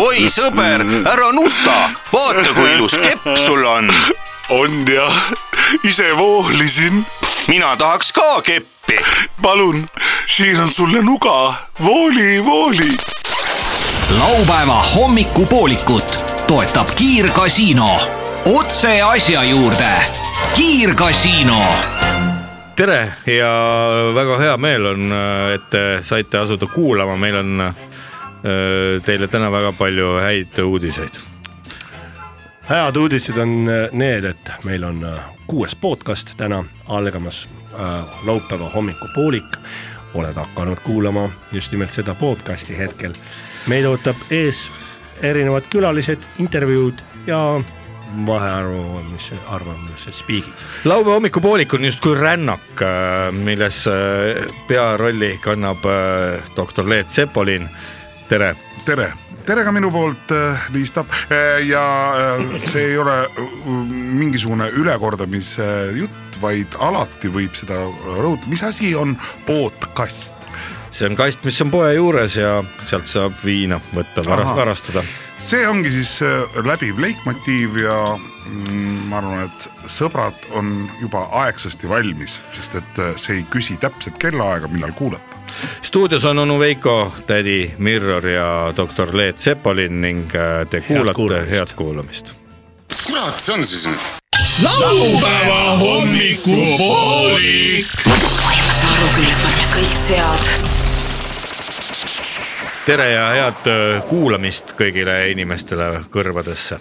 oi sõber , ära nuta , vaata kui ilus kepp sul on . on jah , ise voolisin . mina tahaks ka keppi . palun , siin on sulle nuga , vooli , vooli laupäeva hommikupoolikut toetab Kiirgasiino . otse asja juurde . kiirgasiino . tere ja väga hea meel on , et te saite asuda kuulama , meil on äh, teile täna väga palju häid uudiseid . head uudised on äh, need , et meil on äh, kuues podcast täna algamas äh, laupäeva hommikupoolik . oled hakanud kuulama just nimelt seda podcasti hetkel . meid ootab ees erinevad külalised , intervjuud ja vahearvamise , arvamuse spiigid . laupäeva hommikupoolik on justkui rännak , milles äh, pearolli kannab äh, doktor Leet Sepolin . tere , tere , tere ka minu poolt , Liis Tapp ja äh, see ei ole äh, mingisugune ülekordamise jutt , vaid alati võib seda rõhutada , mis asi on podcast ? see on kast , mis on poe juures ja sealt saab viina võtta , Ahah. varastada . see ongi siis äh, läbiv leikmotiiv ja mm, ma arvan , et sõbrad on juba aegsasti valmis , sest et äh, see ei küsi täpset kellaaega , millal kuulata . stuudios on onu Veiko , tädi Mirror ja doktor Leet Sepolin ning äh, te kuulate , kuulamist. head kuulamist kurat see on siis nüüd ? kõik sead . tere ja head öö, kuulamist kõigile inimestele kõrvadesse .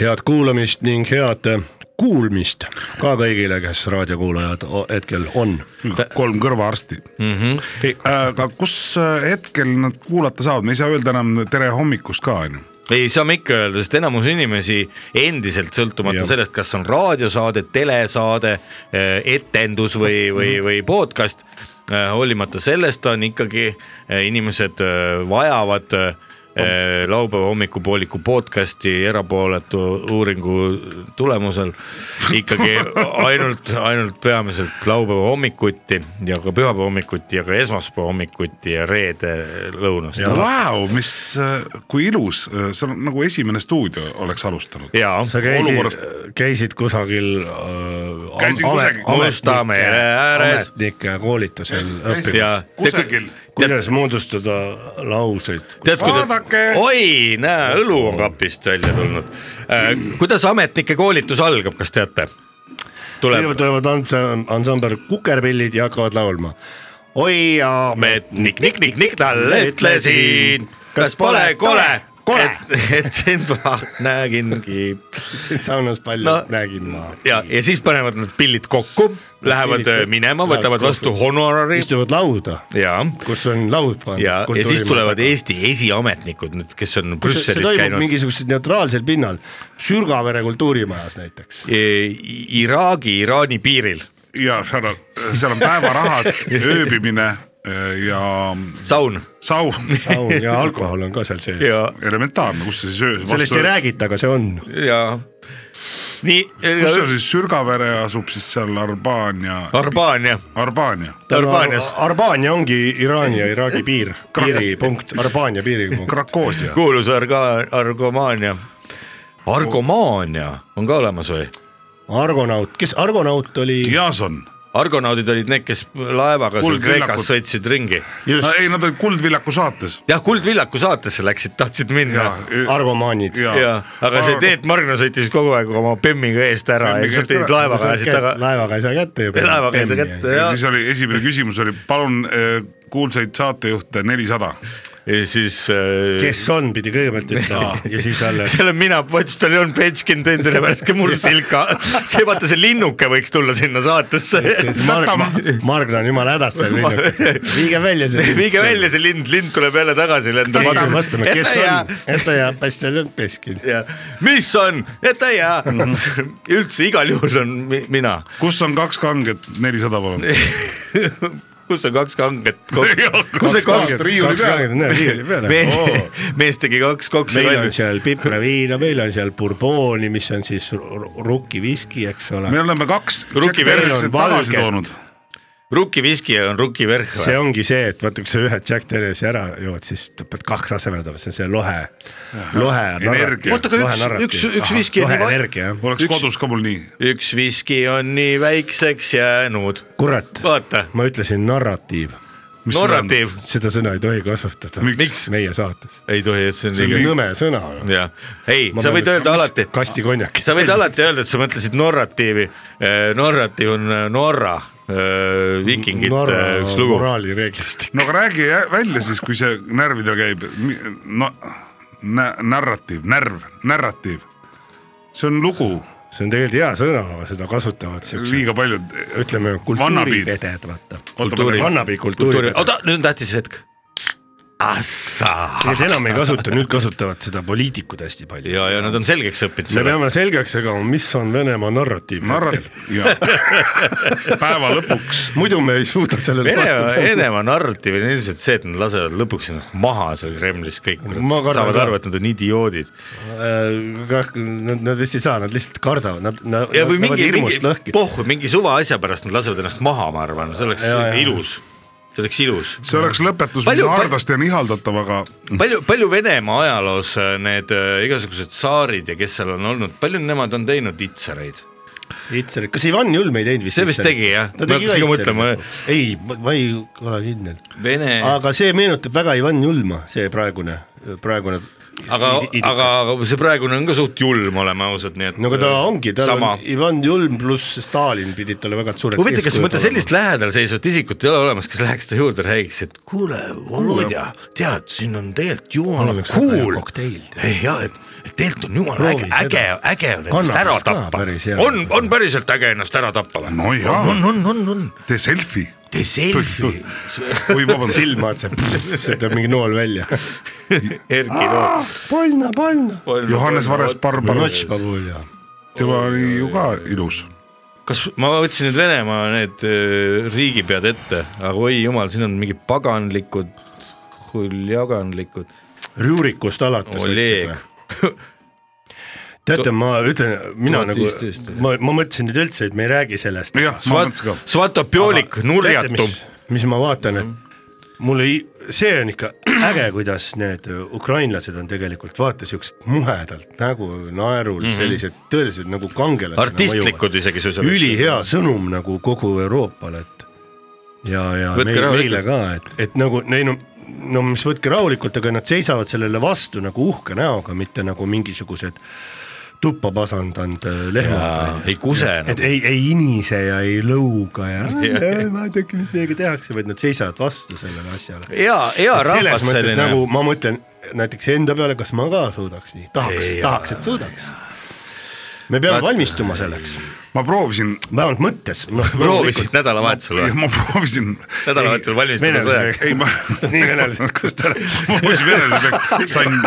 head kuulamist ning head äh, kuulmist ka kõigile , kes raadiokuulajad o- hetkel on . kolm kõrvaarsti mm . -hmm. aga kus äh, hetkel nad kuulata saavad , me ei saa öelda enam tere hommikust ka onju ei saame ikka öelda , sest enamus inimesi endiselt sõltumata Jah. sellest , kas on raadiosaade , telesaade , etendus või , või , Mhm. või podcast , hoolimata sellest on ikkagi eh, inimesed öö, vajavad öö, laupäeva hommikupooliku podcast'i erapooletu uuringu tulemusel ikkagi ainult , ainult peamiselt laupäeva hommikuti ja ka pühapäeva hommikuti ja ka esmaspäeva hommikuti ja reede lõunast . Vau , mis , kui ilus , see on nagu esimene stuudio oleks alustanud . jaa . sa käisid Olukorrast- , käisid kusagil äh, Käisin am- kusagil- amet- Mustamäe ametnike- ääres. ametnike koolitusel õppimas . ja kusagil kuidas moodustada lauseid . tead , kuidas Vaadake! , oi , näe , õlu on kapist välja tulnud äh, . kuidas ametnike koolitus algab , kas teate ? kõigepealt tuleb tulevad ans- ansambel Kukerpillid ja hakkavad laulma . oi ja me ametnik Nik-Nik-Nik talle ütlesin , kas pole kole , Kole! et , et sind ma nägingi . siin saunas palju no. No. nägin ma . ja , ja siis panevad nad pillid kokku , lähevad pillid äh, kokku, minema , lähevad võtavad vastu honorari istuvad lauda , ja , kus on laud pandud . ja , ja siis tulevad Eesti esiametnikud nüüd , kes on see Brüsselis toimub käinud . mingisugusel neutraalsel pinnal , Sürgavere kultuurimajas näiteks . Iraagi-Iraani piiril ja seal on , seal on päevarahad , ööbimine äh, ja saun saun , saun ja alkohol on ka seal sees . ja , elementaarne , kus sa siis öö . sellest ei . räägita , aga see on . ja nii , kus seal siis Sürgavere asub siis seal Arbaania , Arbaania , Arbaania , Arbaanias Arbaania ongi Iraani ja Iraagi piir , piiripunkt , Arbaania piiripunkt . Krakoosia . kuulus arga- , argomaania . argomaania on ka olemas või ? Argonaut , kes Argonaut oli ? Jason , argonaudid olid need , kes laevaga seal Kuldvillakud. Kreekas sõitsid ringi . ei nad olid Kuldvillaku saates jah , Kuldvillaku saatesse läksid , tahtsid ja minna . argomaanid . ja, ja , aga see . Teet Margna sõitis kogu aeg oma bemmiga eest ära ja Bemmiga siis eest pidid ära. laevaga ajasid taga , laevaga ei saa kätte juba . laevaga jäi see kätte ja ja siis oli esimene küsimus oli , palun eh, kuulsaid saatejuhte nelisada . ja siis äh, kes on , pidi kõigepealt ütlema ja siis alles . seal on mina , Potsdali on Petskin , teen teile värske mursilka . see vaata , see linnuke võiks tulla sinna saatesse . Margna on jumala hädas seal linnukas . viige välja see . viige välja . see lind , lind tuleb jälle tagasi , lendab keegi peab vastama , kes Etaja. on , Etaja Bastelõmpeskin . ja mis on , et ei jää . Mhm. üldse igal juhul on mi mina , kus on kaks kanget , nelisada palun . kus on kaks kanget , kus need kaks , riiuli peal. riiuli peale . mees , mees tegi kaks koksi meil on valmis . seal pipraviina , meil on seal Bourbooni , mis on siis ru- ru- rukiviski , eks ole me . oleme kaks Ruki Jack Danielsit versioon tagasi valge. toonud . rukkiviski on rukiverh see ongi see , et vaata , kui sa ühe Jack Danielsi ära jood , siis ta pead kaks asemele tooma , see on see lohe , lohe . Energia. Oota, aga üks- üks- üks viski on on nii va- nii palju . oleks kodus ka mul nii . üks viski on nii väikseks jäänud . kurat , vaata , ma ütlesin narratiiv , narratiiv , seda sõna ei tohi kasutada . Miks? meie saates . ei tohi , et see on see on liiga . nõme sõna . jah , ei , sa võid öelda alati , kasti konjaki . sa võid alati öelda , et sa mõtlesid narratiivi . narratiiv on äh, Norra , viikingite Norra äh, üks lugu . moraalireeglistik . no aga räägi jä- välja siis , kui see närvidel käib , no nä- narratiiv , närv , narratiiv . see on lugu , see on tegelikult hea sõna , aga seda kasutavad siuksed , liiga paljud . ütleme kultuurivedajad , vaata . Kultuuri- vannapi kultuurivedajad . oota , nüüd on tähtis hetk . Assaa . Need enam ei kasuta , nüüd kasutavad seda poliitikud hästi palju . ja , ja nad on selgeks õppinud me selle . peame selgeks tegema , mis on Venemaa narratiiv . narratiiv , päeva lõpuks muidu me ei suuda sellele vastu Venemaa , panna . Venemaa narratiiv on ilmselt see , et nad lasevad lõpuks ennast maha seal Kremlis kõik , Ma kardan saavad ka. aru , et nad on idioodid . Äh, Nad , nad vist ei saa , nad lihtsalt kardavad , nad , nad , ja või nad on mingi , hirmust mingi lõhki . pohhu , mingi suva asja pärast nad lasevad ennast maha , ma arvan , see oleks Ja, ja. ilus , see oleks ilus . see oleks lõpetus , mis Palju- hardasti on ihaldatav , aga Mm. palju , palju Venemaa ajaloos äh, need äh, igasugused tsaarid ja kes seal on olnud , palju nemad on teinud itsereid ? kas Ivan Julm ei teinud vist ? See vist tegi, jah. ta Ma tegi hakkasin ka ka mõtlema. mõtlema . ei , ma ei ole kindel . Vene , aga see meenutab väga Ivan Julma , see praegune , praegune . aga , aga , aga see praegune on ka suht julm , oleme ausad , nii et . no aga ta ongi , tal sama on . Ivan Julm pluss Stalin pidid talle väga suured huvitav , kas eeskujud mõtle olema. sellist lähedal seisvat isikut ei ole olemas , kes läheks ta juurde , räägiks , et kuule , Volodja , tead , siin on tegelikult Mul jumala oleks väga hea cool . kokteil, tead. ei ja , et , et tegelikult on jumala Proovi äge , äge seda. , äge on ennast ära Kannabis ka tappa päris hea. . on , on päriselt äge ennast ära tappa või ? no jaa on , on , on , on , tee selfie . tee selfie . oi , vabandust , silma otseb , see tuleb mingi nool välja . Erki Nool . Ah! polna , polna . Johannes Vares Barbara , Notš Babulja . tema oli ju ka ilus . kas ma võtsin nüüd Venemaa need öö, riigipead ette , aga oi jumal , siin on mingi paganlikud , huljaganlikud . Rjurikust alates . Oleg , teate , ma ütlen , mina Tuhat nagu viisteist, , ma , ma mõtlesin nüüd üldse , et me ei räägi sellest . jah , ma mõtlesin ka . Svatopiolik , nurjatum . mis ma vaatan , et mul ei , see on ikka äge , kuidas need äh, ukrainlased on tegelikult , vaata siuksed muhedalt nägu , naerul mm , -hmm. sellised tõeliselt nagu kangelased . Mhm. artistlikud isegi suisa . ülihea sõnum nagu kogu Euroopale , et ja , ja Võtke meil, rahulikult. meile ka , et , et nagu neil on , no mis võtke rahulikult , aga nad seisavad sellele vastu nagu uhke näoga , mitte nagu mingisugused tuppa pasandanud äh, lehmad . ei kuse nagu. et enam . ei , ei inise ja ei lõuga ja, Jah. ja. vaadake , mis meiega tehakse , vaid nad seisavad vastu sellele asjale . hea , hea selles rahvas mõttes selline selline... nagu ma mõtlen näiteks enda peale , kas ma ka suudaks nii , tahaks Jaa. , tahaks , et suudaks . me peame Vaat- valmistuma selleks ma proovisin , vähemalt mõttes . proovisid nädalavahetusel või ? ma proovisin , nädalavahetusel valmistuda sõjaks . ei ma , nii venelased , kus te ma proovisin venelase , sain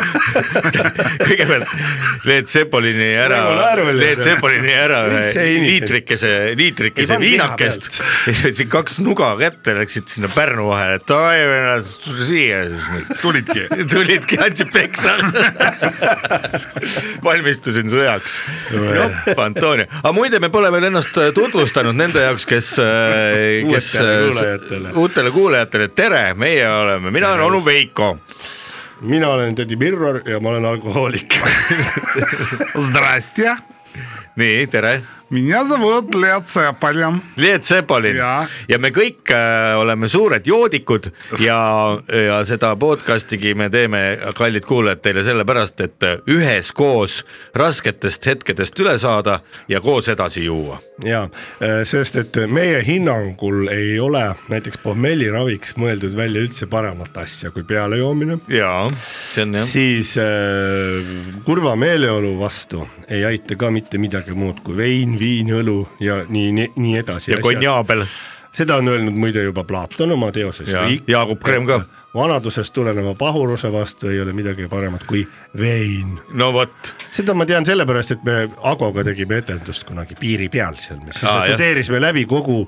kõigepealt Leet Sepolini ära Väga naeruline , Leet see. Sepolini ära ühe Üldse ei inise. liitrikese , Ei liitrikese pannud liha viinakest ja sõitsid kaks nuga kätte , läksid sinna Pärnu vahele , et davai , venelased , tule siia siis . tulidki . tulidki , andsid peksa . valmistusin sõjaks . Antonio , aga muide , me pole veel ennast äh, tutvustanud nende jaoks , kes , kes äh, Uutele kuulajatele. uutele kuulajatele , tere , meie oleme , mina olen onu Veiko . mina olen tädi Mirror ja ma olen alkohoolik . Zdrastja , nii , tere mina zovut Leat Sepaljan . Leet Sepolin ja. Ja. ja me kõik äh, oleme suured joodikud ja , ja seda podcast'igi me teeme , kallid kuulajad , teile sellepärast , et äh, üheskoos rasketest hetkedest üle saada ja koos edasi juua . ja , Äh, sest et meie hinnangul ei ole näiteks pohmelliraviks mõeldud välja üldse paremat asja kui pealejoomine . jaa , see on jah . siis äh, kurva meeleolu vastu ei aita ka mitte midagi muud kui vein , viin , õlu ja nii , nii, nii edasi ja . konjaabel seda on öelnud muide juba Platon oma teoses ja . Jaagup Kreem ka . vanadusest tuleneva pahuruse vastu ei ole midagi paremat kui vein no vot , seda ma tean sellepärast , et me Agoga tegime etendust kunagi piiri peal seal , siis Aa, me jah. tudeerisime läbi kogu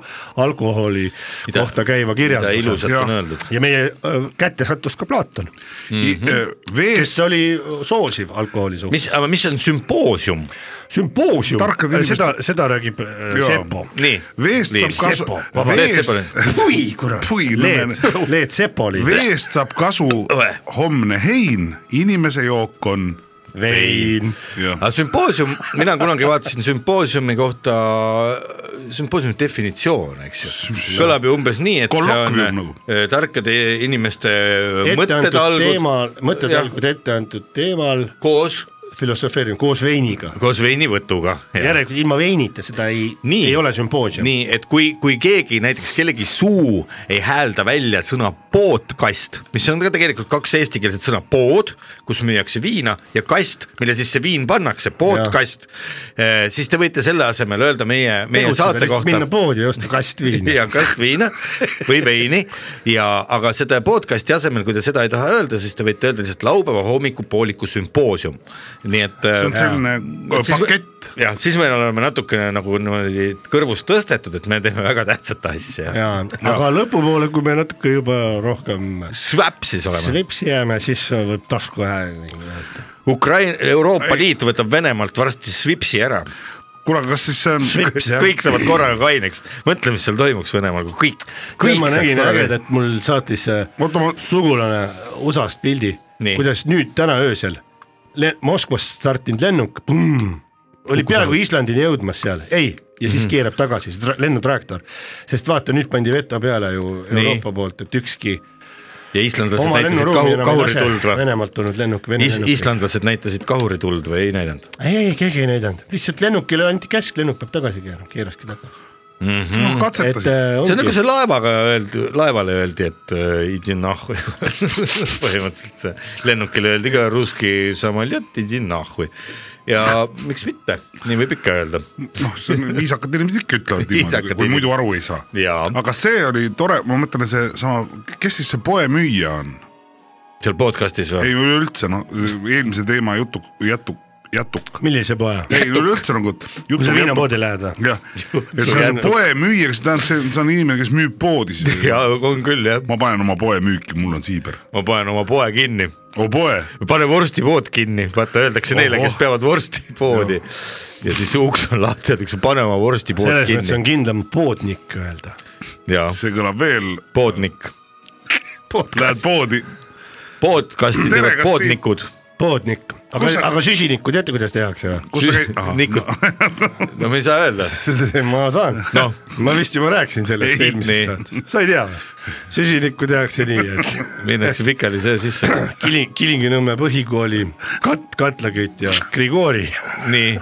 alkoholi Mida- mida, kohta käiva mida kirjanduse . ilusat on Jah. öeldud . ja meie öö, kätte sattus ka Platon , э, vees kes oli soosiv alkoholi suhtes . mis , aga mis on sümpoosium ? sümpoosium Äh, Tarkade , inimeste- seda , seda räägib äh, öö, Jaa. Sepo . nii , veest Nii, saab kasu- sepo, , vabandust, Leet veest , Sepalin. oi kurat , pui , Leet , Leet Sepoli . veest saab kasu homne hein , inimese jook on . vein . aga Ah, sümpoosium , mina kunagi vaatasin sümpoosiumi kohta , sümpoosiumi definitsioon , eks ju . kõlab ju umbes nii , et see Kollokvium on nagu. äh, tarkade inimeste etteantud teemal mõttetalgud , mõttetalgud etteantud teemal koos , filosofeerime koos veiniga . koos veinivõtuga . järelikult ilma veinita seda ei , Nii. ei ole sümpoosium . nii et kui , kui keegi näiteks kellegi suu ei häälda välja sõna podcast , mis on ka tegelikult kaks eestikeelset sõna pood , kus müüakse viina ja kast , mille sisse viin pannakse , podcast , siis te võite selle asemel öelda meie , meie saate kohta minna poodi ja osta kast viina . ja kast viina või veini ja , aga seda podcast'i asemel , kui te seda ei taha öelda , siis te võite öelda lihtsalt laupäeva hommikupooliku sümpoosium . nii et . see on selline äh, äh, Siis- pakett . jah , siis me oleme natukene nagu niimoodi kõrvust tõstetud , et me teeme väga tähtsat asja . ja , aga lõpupoole , kui me natuke juba rohkem Sväpsis oleme . svepsi jääme , siis võib tasku hääl . Ukraina , Euroopa Liit võtab Venemaalt varsti svipsi ära . kuule , aga kas siis see on , kõik saavad korraga kaineks . mõtle , mis seal toimuks Venemaal , kui kõik , kõik ma saaks nägin korraga . ägedat , mul saatis äh, oota ma , sugulane USA-st pildi Nii. , kuidas nüüd täna öösel le- Moskvast startinud lennuk , oli peaaegu Islandini jõudmas seal , ei , ja Mhm. siis keerab tagasi see tra- lennutrajektoor , sest vaata nüüd pandi veto peale ju Nii. Euroopa poolt , et ükski ja islandlased oma näitasid lennuruumi kahu , enam ei lase kahurituld või ? Venemaalt tulnud lennuk , Vene Is- , lennuk . islandlased näitasid kahurituld või ei näidanud ? ei , ei keegi ei näidanud , lihtsalt lennukile anti käsk , lennuk peab tagasi keerama , keeraski tagasi . Mhm. no et äh, katsetasid . see on nagu ongi , see laevaga öeldi , laevale öeldi , et äh, idi nahhu . põhimõtteliselt see lennukile öeldi ka russki samoljot , idi nahhu . ja miks mitte , nii võib ikka öelda . noh , see on viisakad inimesed ikka ütlevad niimoodi , Viisakad kui inimesed. muidu aru ei saa . Jaa. aga see oli tore , ma mõtlen , seesama , kes siis see poemüüja on ? seal podcast'is või ei ? üleüldse , noh eelmise teema jutu , jätuk , jätuk . millise poe ? ei üleüldse nagu . kui sa viinapoodi lähed või ? jah , et see on see poemüüja , kas see tähendab , see on , see on inimene , kes müüb poodi siis või ? jaa , on küll jah , ma panen oma poe müüki , mul on siiber . ma panen oma poe kinni , oo poe , pane vorstipood kinni , vaata öeldakse neile , kes Ohoh. peavad vorstipoodi . ja siis uks on lahti , öeldakse pane oma vorstipood selles mõttes kinni on kindlam poodnik öelda . ja see kõlab veel , poodnik , lähed poodi , podcast'i Tere, teevad kas siin- poodnikud poodnik , aga Kus , sa- aga süsinikku teate , kuidas tehakse või ? kus sa käid ? nikud , no me ei saa öelda , ma saan Noh. ma vist juba rääkisin sellest Ei, eelmises nii. saates , sa ei tea või ? süsinikku tehakse nii , et minnakse pikali söö sisse . Kili- , Kilingi-Nõmme põhikooli kat- , katlakütt ja Grigori nii ,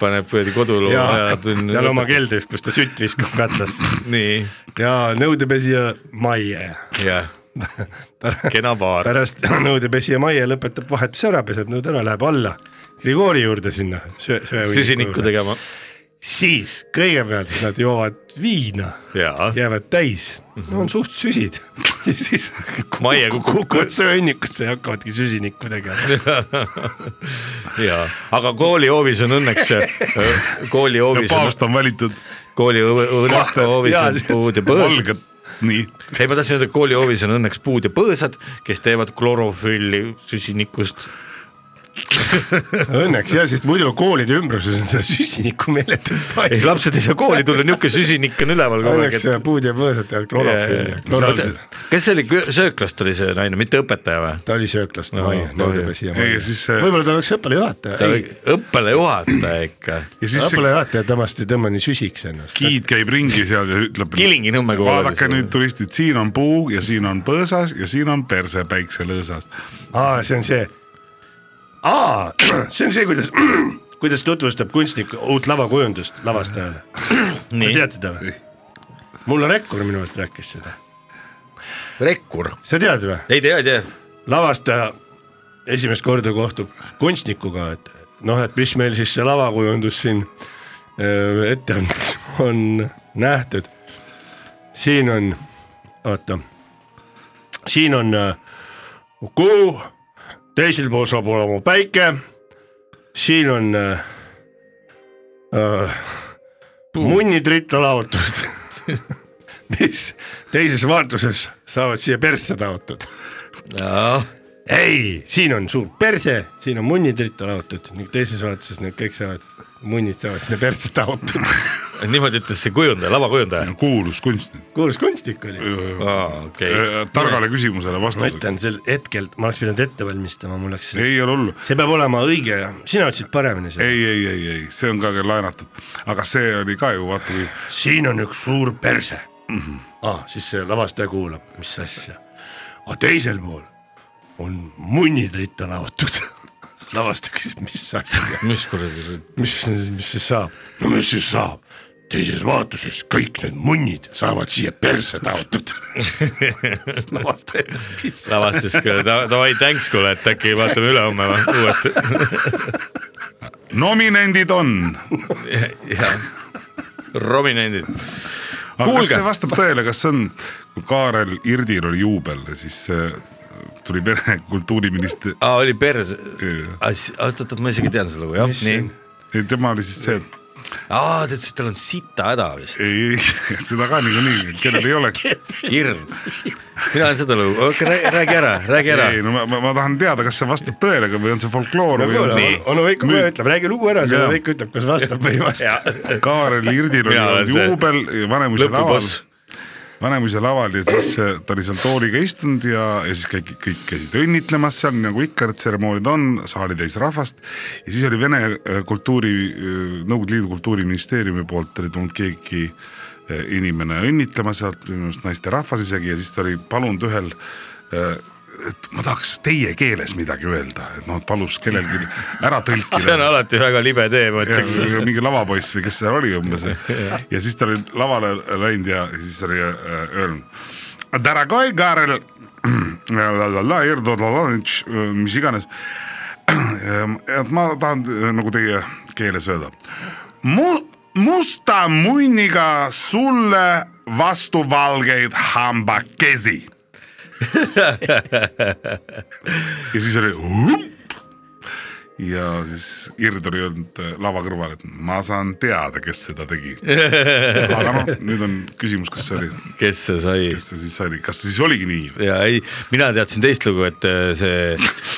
paneb kuradi koduloo ja ajatund . seal oma . keldris , kus ta sütt viskab katlasse nii , ja nõudepesija Maie . jah , kena paar . pärast nõudepesija Maie lõpetab vahetuse ära , peseb nõud ära , läheb alla Grigori juurde sinna söö , söövõiku süsinikku . tegema siis kõigepealt nad joovad viina ja jäävad täis , on suht süsid ja siis Maie Mhm. kukub- kukuvad söönnikusse ja hakkavadki süsinikku tegema . ja , aga koolihoovis on õnneks , koolihoovis on , paavst on valitud koolihoovis Jaa, on siis- puud ja põõsad . valged , nii , ei , ma tahtsin öelda , et koolihoovis on õnneks puud ja põõsad , kes teevad klorofülli süsinikust . Õnneks jah , sest muidu koolide ümbruses on seda süsinikku meeletult ei , palju . lapsed ei saa kooli tulla , niisugune süsinik on üleval kogu aeg , Õnneks et puud ja põõsad teevad klorofülli . Oota, kes see oli , sööklast oli see naine , mitte õpetaja või ? ta oli sööklas , No, Maie , no, nõudepesija ei Maie ja . siis äh, see , võib-olla ta oleks õppealajuhataja , ei , õppealajuhataja ikka . ja siis see õppealajuhataja temast ei tõmba nii süsiks ennast . giid käib ringi seal ja ütleb . Kilingi-Nõmme kooli vaadake see- nüüd turistid , siin on puu ja siin on põõsas ja siin on perse päikselõõsas . aa , see on see , aa , see on see , kuidas , kuidas tutvustab kunstnik uut lavakujundust lavastajale . Nii. tead seda või ? mulle Rekkur minu meelest rääkis seda , rekkur . sa tead või ? ei tea , ei tea . lavastaja esimest korda kohtub kunstnikuga , et noh , et mis meil siis see lavakujundus siin öö, ette on , on nähtud . siin on , oota , siin on öö, kuu , teisel pool saab olema päike , siin on äh, öö, öö, munnid ritta laotud , mis teises vaatuses saavad siia persse taotud ei , siin on suur perse , siin on munnid ritta laotud , teises vaatuses need kõik saavad , munnid saavad sinna perse taotud . niimoodi ütles see kujundaja , lavakujundaja . kuulus kunstnik . kuulus kunstnik oli . okei , targale küsimusele ma vastus . ütlen sel hetkel , ma oleks pidanud ette valmistama , mul läks , ei ole hullu , see peab olema õige ja sina ütlesid paremini seda . ei , ei , ei , ei , see on ka küll laenatud , aga see oli ka ju vaata kui , siin on üks suur perse . ah , siis see lavastaja kuulab , mis asja . aga teisel pool on munnid ritta lavatud . lavastaja küsib , mis asja , mis kuradi , mis , mis siis saab ? no mis siis saab ? teises vaatuses kõik need munnid saavad siia perse taotud . lavastaja ütleb , mis sa lavastas küll , davai , thanks kuule , et äkki vaatame ülehomme või- uuesti . nominendid on . Rominendid , aga Kuulge. kas Kuulge. see vastab tõele , kas see on , kui Kaarel Irdil oli juubel , siis äh, tuli pere kultuuriminister , aa oli pers , oot-oot , ma isegi tean seda lugu jah , nii . tema oli siis see , et aa , ta ütles , et tal on sita häda vist , ei , seda ka niikuinii , kellel ei oleks . hirm . mina olen seda lugu , räägi ära , räägi ära . ei , no ma, ma , ma tahan teada , kas see vastab tõele ka või on see folkloor või on see . onu Veiko kohe ütleb , räägi lugu ära , siis Jaa. onu Veiko ütleb , kas vastab või ei vasta . Kaarel Irdil Mina olen oli see juubel Vanemuise laval lõpuboss , Vanemuise laval ja siis äh, ta oli seal tooliga istunud ja , ja siis kõik , kõik käisid õnnitlemas seal nagu ikka , need tseremooniad on , saali täis rahvast . ja siis oli Vene äh, kultuuri , Nõukogude Liidu kultuuriministeeriumi poolt oli tulnud keegi äh, inimene õnnitlema sealt , minu arust naisterahvas isegi ja siis ta oli palunud ühel äh, et ma tahaks teie keeles midagi öelda , et noh , palus kellelgi ära tõlkida . see on alati väga libe tee , ma ütleks . ja, mingi lavapoiss või kes seal oli umbes ja siis ta oli lavale läinud ja siis oli äh, öelnud . Daragoi Karel , äh, mis iganes . et ma tahan äh, nagu teie keeles öelda . mu- , musta munniga sulle vastu valgeid hambakesi . ja siis oli hup, ja siis Ird oli olnud äh, lava kõrval , et ma saan teada , kes seda tegi . aga noh , nüüd on küsimus , kas see oli , kes see sai ? kes see siis oli , kas siis oligi nii või ? ja ei , mina teadsin teist lugu , et äh, see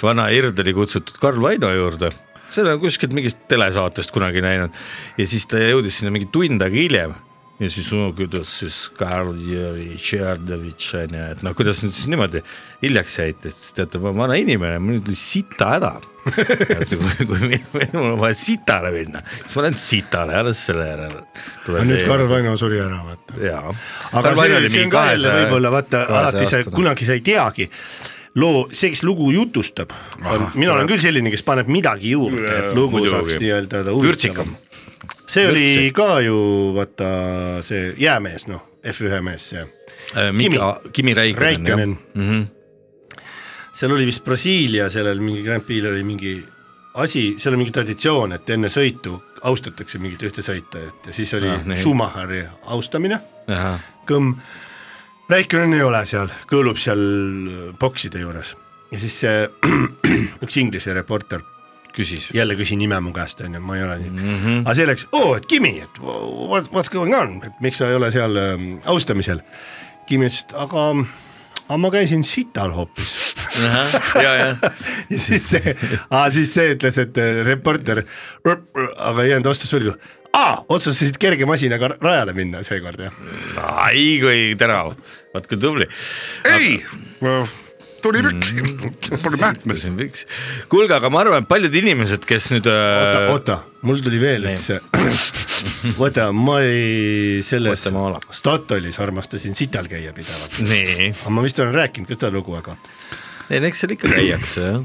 vana Hird oli kutsutud Karl Vaino juurde , seda on kuskilt mingist telesaatest kunagi näinud ja siis ta jõudis sinna mingi tund aega hiljem ja siis no kuidas siis Karl Jüri Tšerdovitš on ju , et noh , kuidas nüüd siis niimoodi hiljaks jäite , siis teate , ma olen vana inimene , mul nüüd oli sita häda . kui kui mi- minul on vaja sitale minna , siis ma lähen sitale , alles selle järel . nüüd Karl Vaino suri ära , vaata jaa . aga see, see on ka jälle võib-olla vaata alati sa kunagi sa ei teagi loo , see , kes lugu jutustab , mina olen küll selline , kes paneb midagi juurde , et lugu muidugi. saaks nii-öelda ta Vürtsikam. huvitavam . see oli Vürtsik. ka ju vaata see jäämees , noh , F1 mees , see Äh, Mika , Kimi Räikkönen jah Mhm. Räikkönen . seal oli vist Brasiilia sellel mingi Grand Prix'l oli mingi asi , seal on mingi traditsioon , et enne sõitu austatakse mingit ühte sõitajat ja siis oli Ah, nii. Schumacheri austamine Ahah. kõmm . Räikkönen ei ole seal , kõõlub seal äh, bokside juures ja siis see üks Inglise reporter küsis . jälle küsin nime mu käest onju , ma ei ole nii mm , -hmm. aga see läks , oo , et Kimi , et what, what's going on , et miks sa ei ole seal ähm, austamisel . Kimi ütles , et aga , aga ma käisin sital hoopis . ja , ja ja siis see , siis see ütles , et äh, reporter , aga ei jäänud vastus sulgu . aa , otsustasid kerge masinaga ra- rajale minna seekord jah . ai kui terav , vaat kui tubli . ei , tuli Mm. püksi , tuli mähkmes . kuulge , aga ma arvan , et paljud inimesed , kes nüüd oota , äh, oota , mul tuli veel üks , vaata ma ei selles Oota, ma olen- Statoilis armastasin sital käia pidevalt . nii , aga ma vist olen rääkinud ka seda lugu , aga ei no eks seal ikka käiakse jah .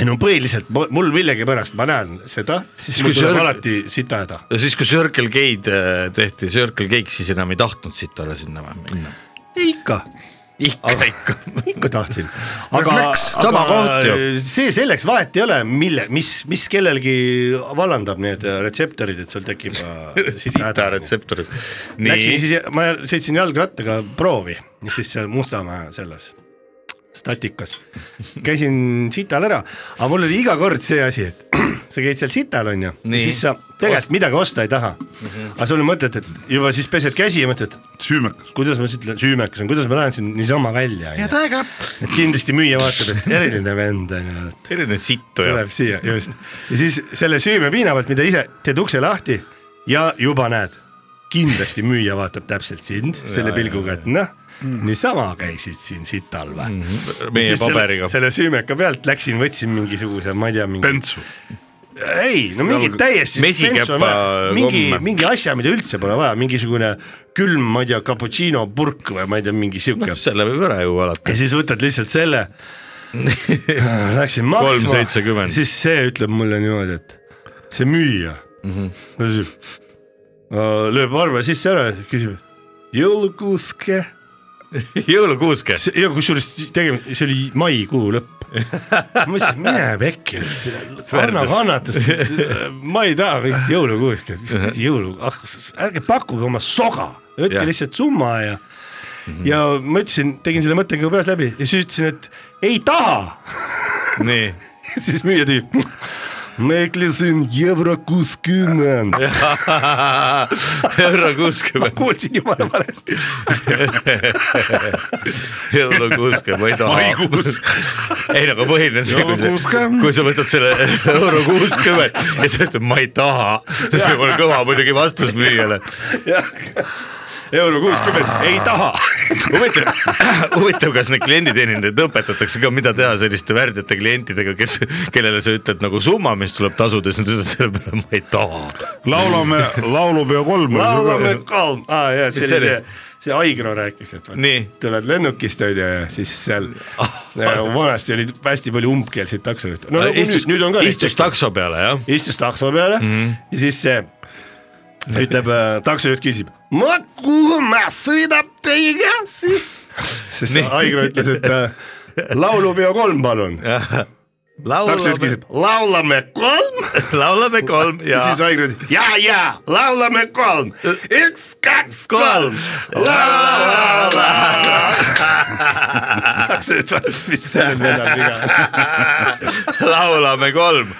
ei no põhiliselt mu- mul millegipärast , ma näen seda , siis mul Kui tuleb sa- alati sita häda . ja siis , kui Circle K-d äh, tehti , Circle K-ks siis enam ei tahtnud siit alla sinna või minna . ikka , ikka , ikka . ikka tahtsin , aga äh, Refleks, , sama koht ju. see selleks , vahet ei ole , mille , mis , mis kellelgi vallandab need äh, retseptorid , et sul tekib äh, sita sita häda . retseptorid . Läksin nii , siis , ma sõitsin jalgrattaga proovi , siis seal Mustamäe selles statikas , käisin sital ära , aga mul oli iga kord see asi , et sa käid seal sital onju , Nii. Mhm. siis sa tegelikult midagi osta ei taha . aga sul on mõtet , et juba siis pesed käsi ja mõtled , süümekas . kuidas ma siit lä- süümekas on , kuidas ma lähen siin niisama välja onju . et kindlasti müüja vaatab , et eriline vend onju , et selline sittu jah tuleb . siia just ja siis selle süümepiina pealt , mida ise teed ukse lahti ja juba näed kindlasti müüja vaatab täpselt sind selle pilguga , et noh , niisama käisid siin sital või mm . -hmm. Mhm. Meie paberiga. selle süümeka pealt läksin , võtsin mingisuguse , ma ei tea , mingi , Pentsu . ei , no mingi Nagu täiesti . mesikäpa mingi komme. , mingi asja , mida üldse pole vaja , mingisugune külm , ma ei tea , cappuccino purk või ma ei tea , mingi sihuke . Noh, selle võib ära ju alati . ja siis võtad lihtsalt selle . Läksin maksma 3,70. , siis see ütleb mulle niimoodi , et see müüja mm . -hmm. lööb arve sisse ära ja küsib , jõulukuuske . jõulukuuske . ja kusjuures tegemist , see oli maikuu lõpp . ma mõtlesin , mine pekki , anna Värdjas. kannatust , ma ei taha mingit jõulukuuske , mis kuradi jõulu , ah ärge pakkuge oma soga , öelge Jah. lihtsalt summa ja ja ma ütlesin , tegin selle mõtte nagu peas läbi ja siis ütlesin , et ei taha nii . siis müüja tüüp . Meklisin euro kuuskümmend . euro kuuskümmend , kuulsin jumala valesti . euro kuuskümmend , ma ei taha . ei no aga põhiline on see , kui sa , kuuskümmend. kui sa võtad selle euro kuuskümmend ja sa ütled , ma ei taha . see võib olla kõva muidugi vastus müüjale . euro kuuskümmend , ei taha . huvitav , huvitav , kas neid klienditeenindajaid õpetatakse ka , mida teha selliste värdjate klientidega , kes , kellele sa ütled nagu summa , mis tuleb tasuda , siis nad ütlevad selle peale , ma ei taha . laulame laulupeo kolm . laulame kalm , aa jaa , see See oli oli- see , see Aigro rääkis , et vaat Nii. tuled lennukist onju ja siis seal ja vanasti oli hästi palju umbkeelseid taksojuhte . no nagu nüüd , nüüd on ka . istus . Mhm. takso peale jah , istus takso peale mm -hmm. ja siis see ütleb , taksojuht küsib , ma kuhu ma sõidab teiega siis ? siis Nii. Aigro ütles , et äh, laulupeo kolm , palun . taksojuht laulame , küsib , laulame kolm laulame kolm ja ja siis Aigro ütleb , ja , ja laulame kolm , üks , kaks , kolm , la , la , la , la . taksojuht vastas , mis seal veel on viga . laulame kolm .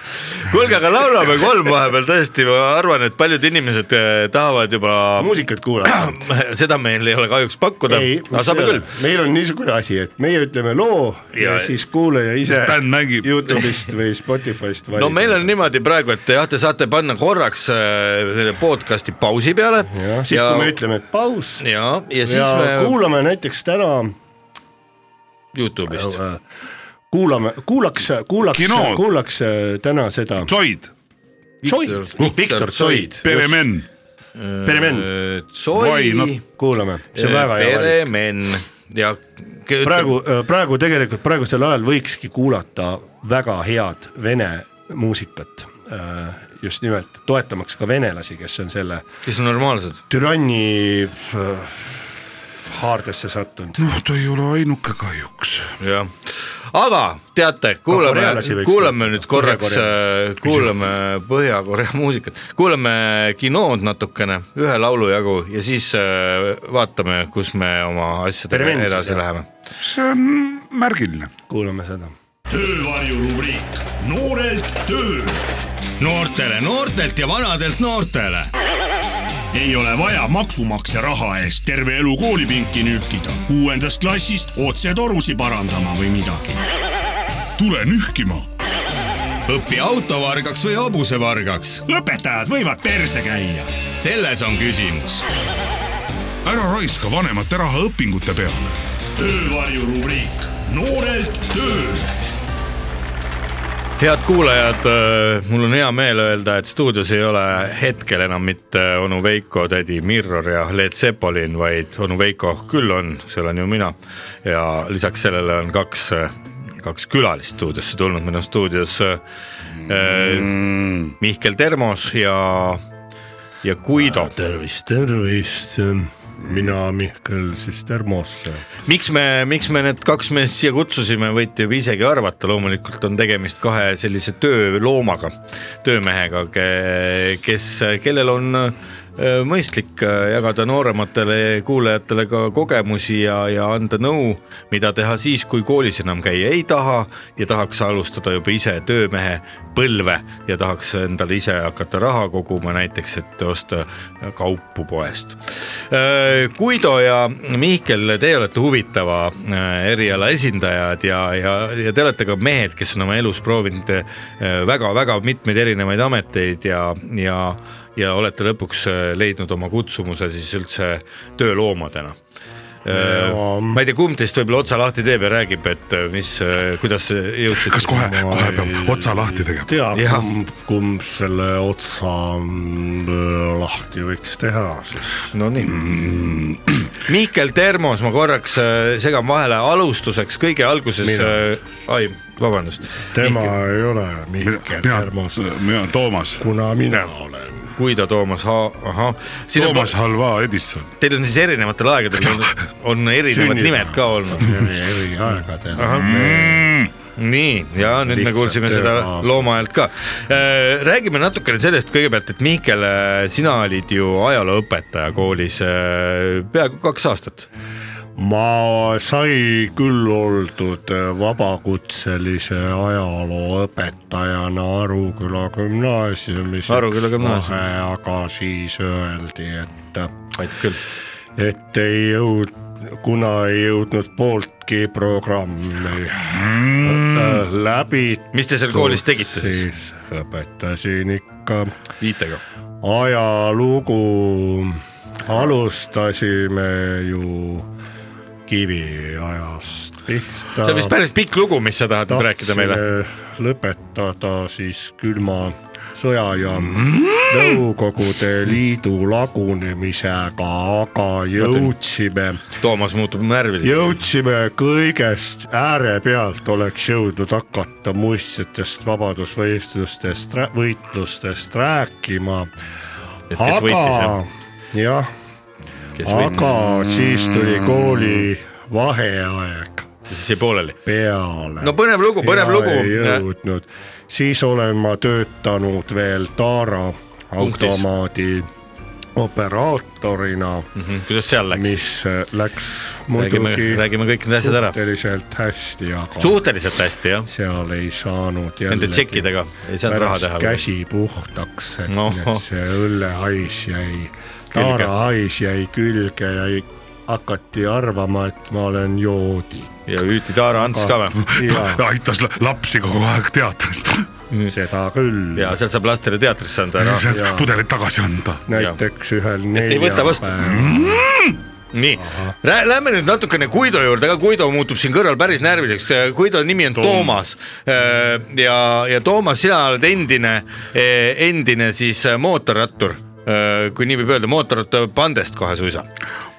kuulge , aga laulame kolm vahepeal tõesti , ma arvan , et paljud inimesed eh, tahavad juba , muusikat kuulame . seda meil ei ole kahjuks pakkuda , ei , aga saame küll . meil on niisugune asi , et meie ütleme loo ja, Ja- ja siis kuulaja ise bänd mängib. Youtube'ist või Spotify'st valib . no meil on niimoodi praegu , et jah , te saate panna korraks eh, selle podcast'i pausi peale . jah , siis ja... kui me . ütleme , et paus ja, ja , ja siis ja me... me kuulame näiteks täna Youtube'ist . äh, kuulame , kuulaks , kuulaks Kinod. , kuulaks äh, täna seda Zoid , Zoid , Viktor Zoid , Peremen , Peremen , Soi Vai, , no- kuulame , see on väga hea valik . Peremen ja . praegu , praegu tegelikult praegusel ajal võikski kuulata väga head vene muusikat , just nimelt toetamaks ka venelasi , kes on selle kes on normaalsed . türanni äh, haardesse sattunud . noh ta ei ole ainuke kahjuks . jah , aga teate , kuulame korealasi , võiks kuulame toetada. nüüd korraks , kuulame Põhja-Korea muusikat , kuulame kinood natukene , ühe laulu jagu ja siis äh, vaatame , kus me oma asjadega Peremen siis, edasi jah. läheme . see on märgiline . kuulame seda . töövarjurubriik Noorelt tööle . noortele noortelt ja vanadelt noortele . ei ole vaja maksumaksja raha eest terve elu koolipinki nühkida , kuuendast klassist otse torusi parandama või midagi . tule nühkima . õpi autovargaks või hobusevargaks , õpetajad võivad perse käia . selles on küsimus . ära raiska vanemate raha õpingute peale . töövarjurubriik Noorelt tööle . head kuulajad , mul on hea meel öelda , et stuudios ei ole hetkel enam mitte onu Veiko , tädi Mirror ja Leet Sepolin , vaid onu Veiko küll on , see olen ju mina . ja lisaks sellele on kaks , kaks külalist stuudiosse tulnud , meil on stuudios äh, Mihkel Termos ja , ja Ah, Guido . tervist , tervist , mina Mihkel siis Termosse . miks me , miks me need kaks meest siia kutsusime , võite juba isegi arvata , loomulikult on tegemist kahe sellise tööloomaga , töömehega , kes , kellel on äh, mõistlik äh, jagada noorematele kuulajatele ka kogemusi ja , ja anda nõu , mida teha siis , kui koolis enam käia ei taha ja tahaks alustada juba ise töömehe põlve ja tahaks endale ise hakata raha koguma näiteks , et osta kaupu poest . Guido ja Mihkel , teie olete huvitava äh, eriala esindajad ja , ja , ja te olete ka mehed , kes on oma elus proovinud äh, väga-väga mitmeid erinevaid ameteid ja , ja , ja olete lõpuks äh, leidnud oma kutsumuse siis üldse tööloomadena . ma ei tea , kumb teist võib-olla otsa lahti teeb ja räägib , et äh, mis , kuidas jõudsid . kas kohe , kohe peab otsa lahti tegema ? tea , Jah. kumb , kumb selle otsa mm, lahti võiks teha siis . Nonii mm. . Mihkel Termos , ma korraks äh, segan vahele , alustuseks kõige alguses äh, Mina. , ai , vabandust , tema Mihkel. ei ole Mihkel mina Termos ,, mina , Toomas , kuna mina olen . kui ta Toomas , ahah , Toomas Halva Edison . teil on siis erinevatel aegadel on, on erinevad Sünnipäev. nimed ka olnud . eri , eri aegadel . nii , ja nüüd me Lihtsalt äh, kuulsime seda tema- looma häält ka . räägime natukene sellest kõigepealt , et Mihkel , sina olid ju ajalooõpetaja koolis äh, peaaegu kaks aastat . ma sai küll oldud äh, vabakutselise ajalooõpetajana Aruküla gümnaasiumis . Aruküla gümnaasium. . aga siis öeldi , et , Mait küll . et ei jõud- , kuna ei jõudnud pooltki programmi mm. läbi , mis te seal koolis tegite siis siis õpetasin ikka viitega ? ajalugu alustasime ju kiviajast pihta . see on vist päris pikk lugu , mis sa tahad nüüd rääkida meile . lõpetada siis külma sõja ja Mm-hmm. Nõukogude Liidu lagunemisega , aga jõudsime , Toomas muutub närviliseks . jõudsime kõigest äärepealt oleks jõudnud hakata muistsetest vabadusvõistlustest , võitlustest rääkima et kes võitis ja jah , kes võitis , Mm. aga siis tuli kooli vaheaeg siis jäi pooleli . peale . no põnev lugu , põnev ei lugu . jõudnud , siis olen ma töötanud veel Taara Punktis. automaadi operaatorina , Mhm. kuidas seal läks ? mis äh, läks räägime , muidugi räägime kõik need asjad ära . suhteliselt hästi , aga suhteliselt hästi jah , seal ei saanud nende jällegi tšekkidega ei saanud raha pärast teha . käsi puhtaks , et No. no. see õllehais jäi , taarahais jäi külge ja ei- hakati arvama , et ma olen joodik . ja hüüti Taara Ants ka või ? ja aitas la- lapsi kogu aeg teatris , seda küll . ja sealt saab lastele teatrisse anda ära . jaa. pudelid tagasi anda . näiteks ühel ei võta vastu. neljapäeval , nii , lähme nüüd natukene Guido juurde ka , Guido muutub siin kõrval päris närviliseks , Guido nimi on Toomas . ja , ja Toomas , sina oled endine , endine siis eh, mootorrattur , kui nii võib öelda , mootorrattur pandest kohe suisa .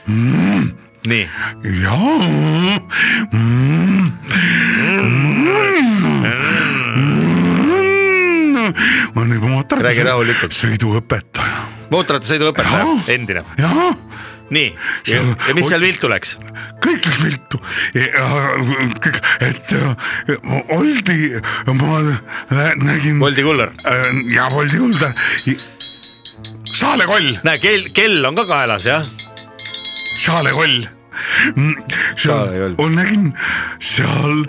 Mm. nii , jaa mm. . ma olen juba Räägi mootorratta rahulikult. sõiduõpetaja . mootorrattasõiduõpetaja , Jah. endine , jaa , nii , ja ja mis seal viltu läks ? kõik läks viltu . kõik , et äh, oldi , ma äh, nägin . äh, Boldi kuller , ja Boldi kulda . saalekoll , näe kell , kell on ka kaelas jah , saalekoll . Saalekoll. ma Mm, nägin seal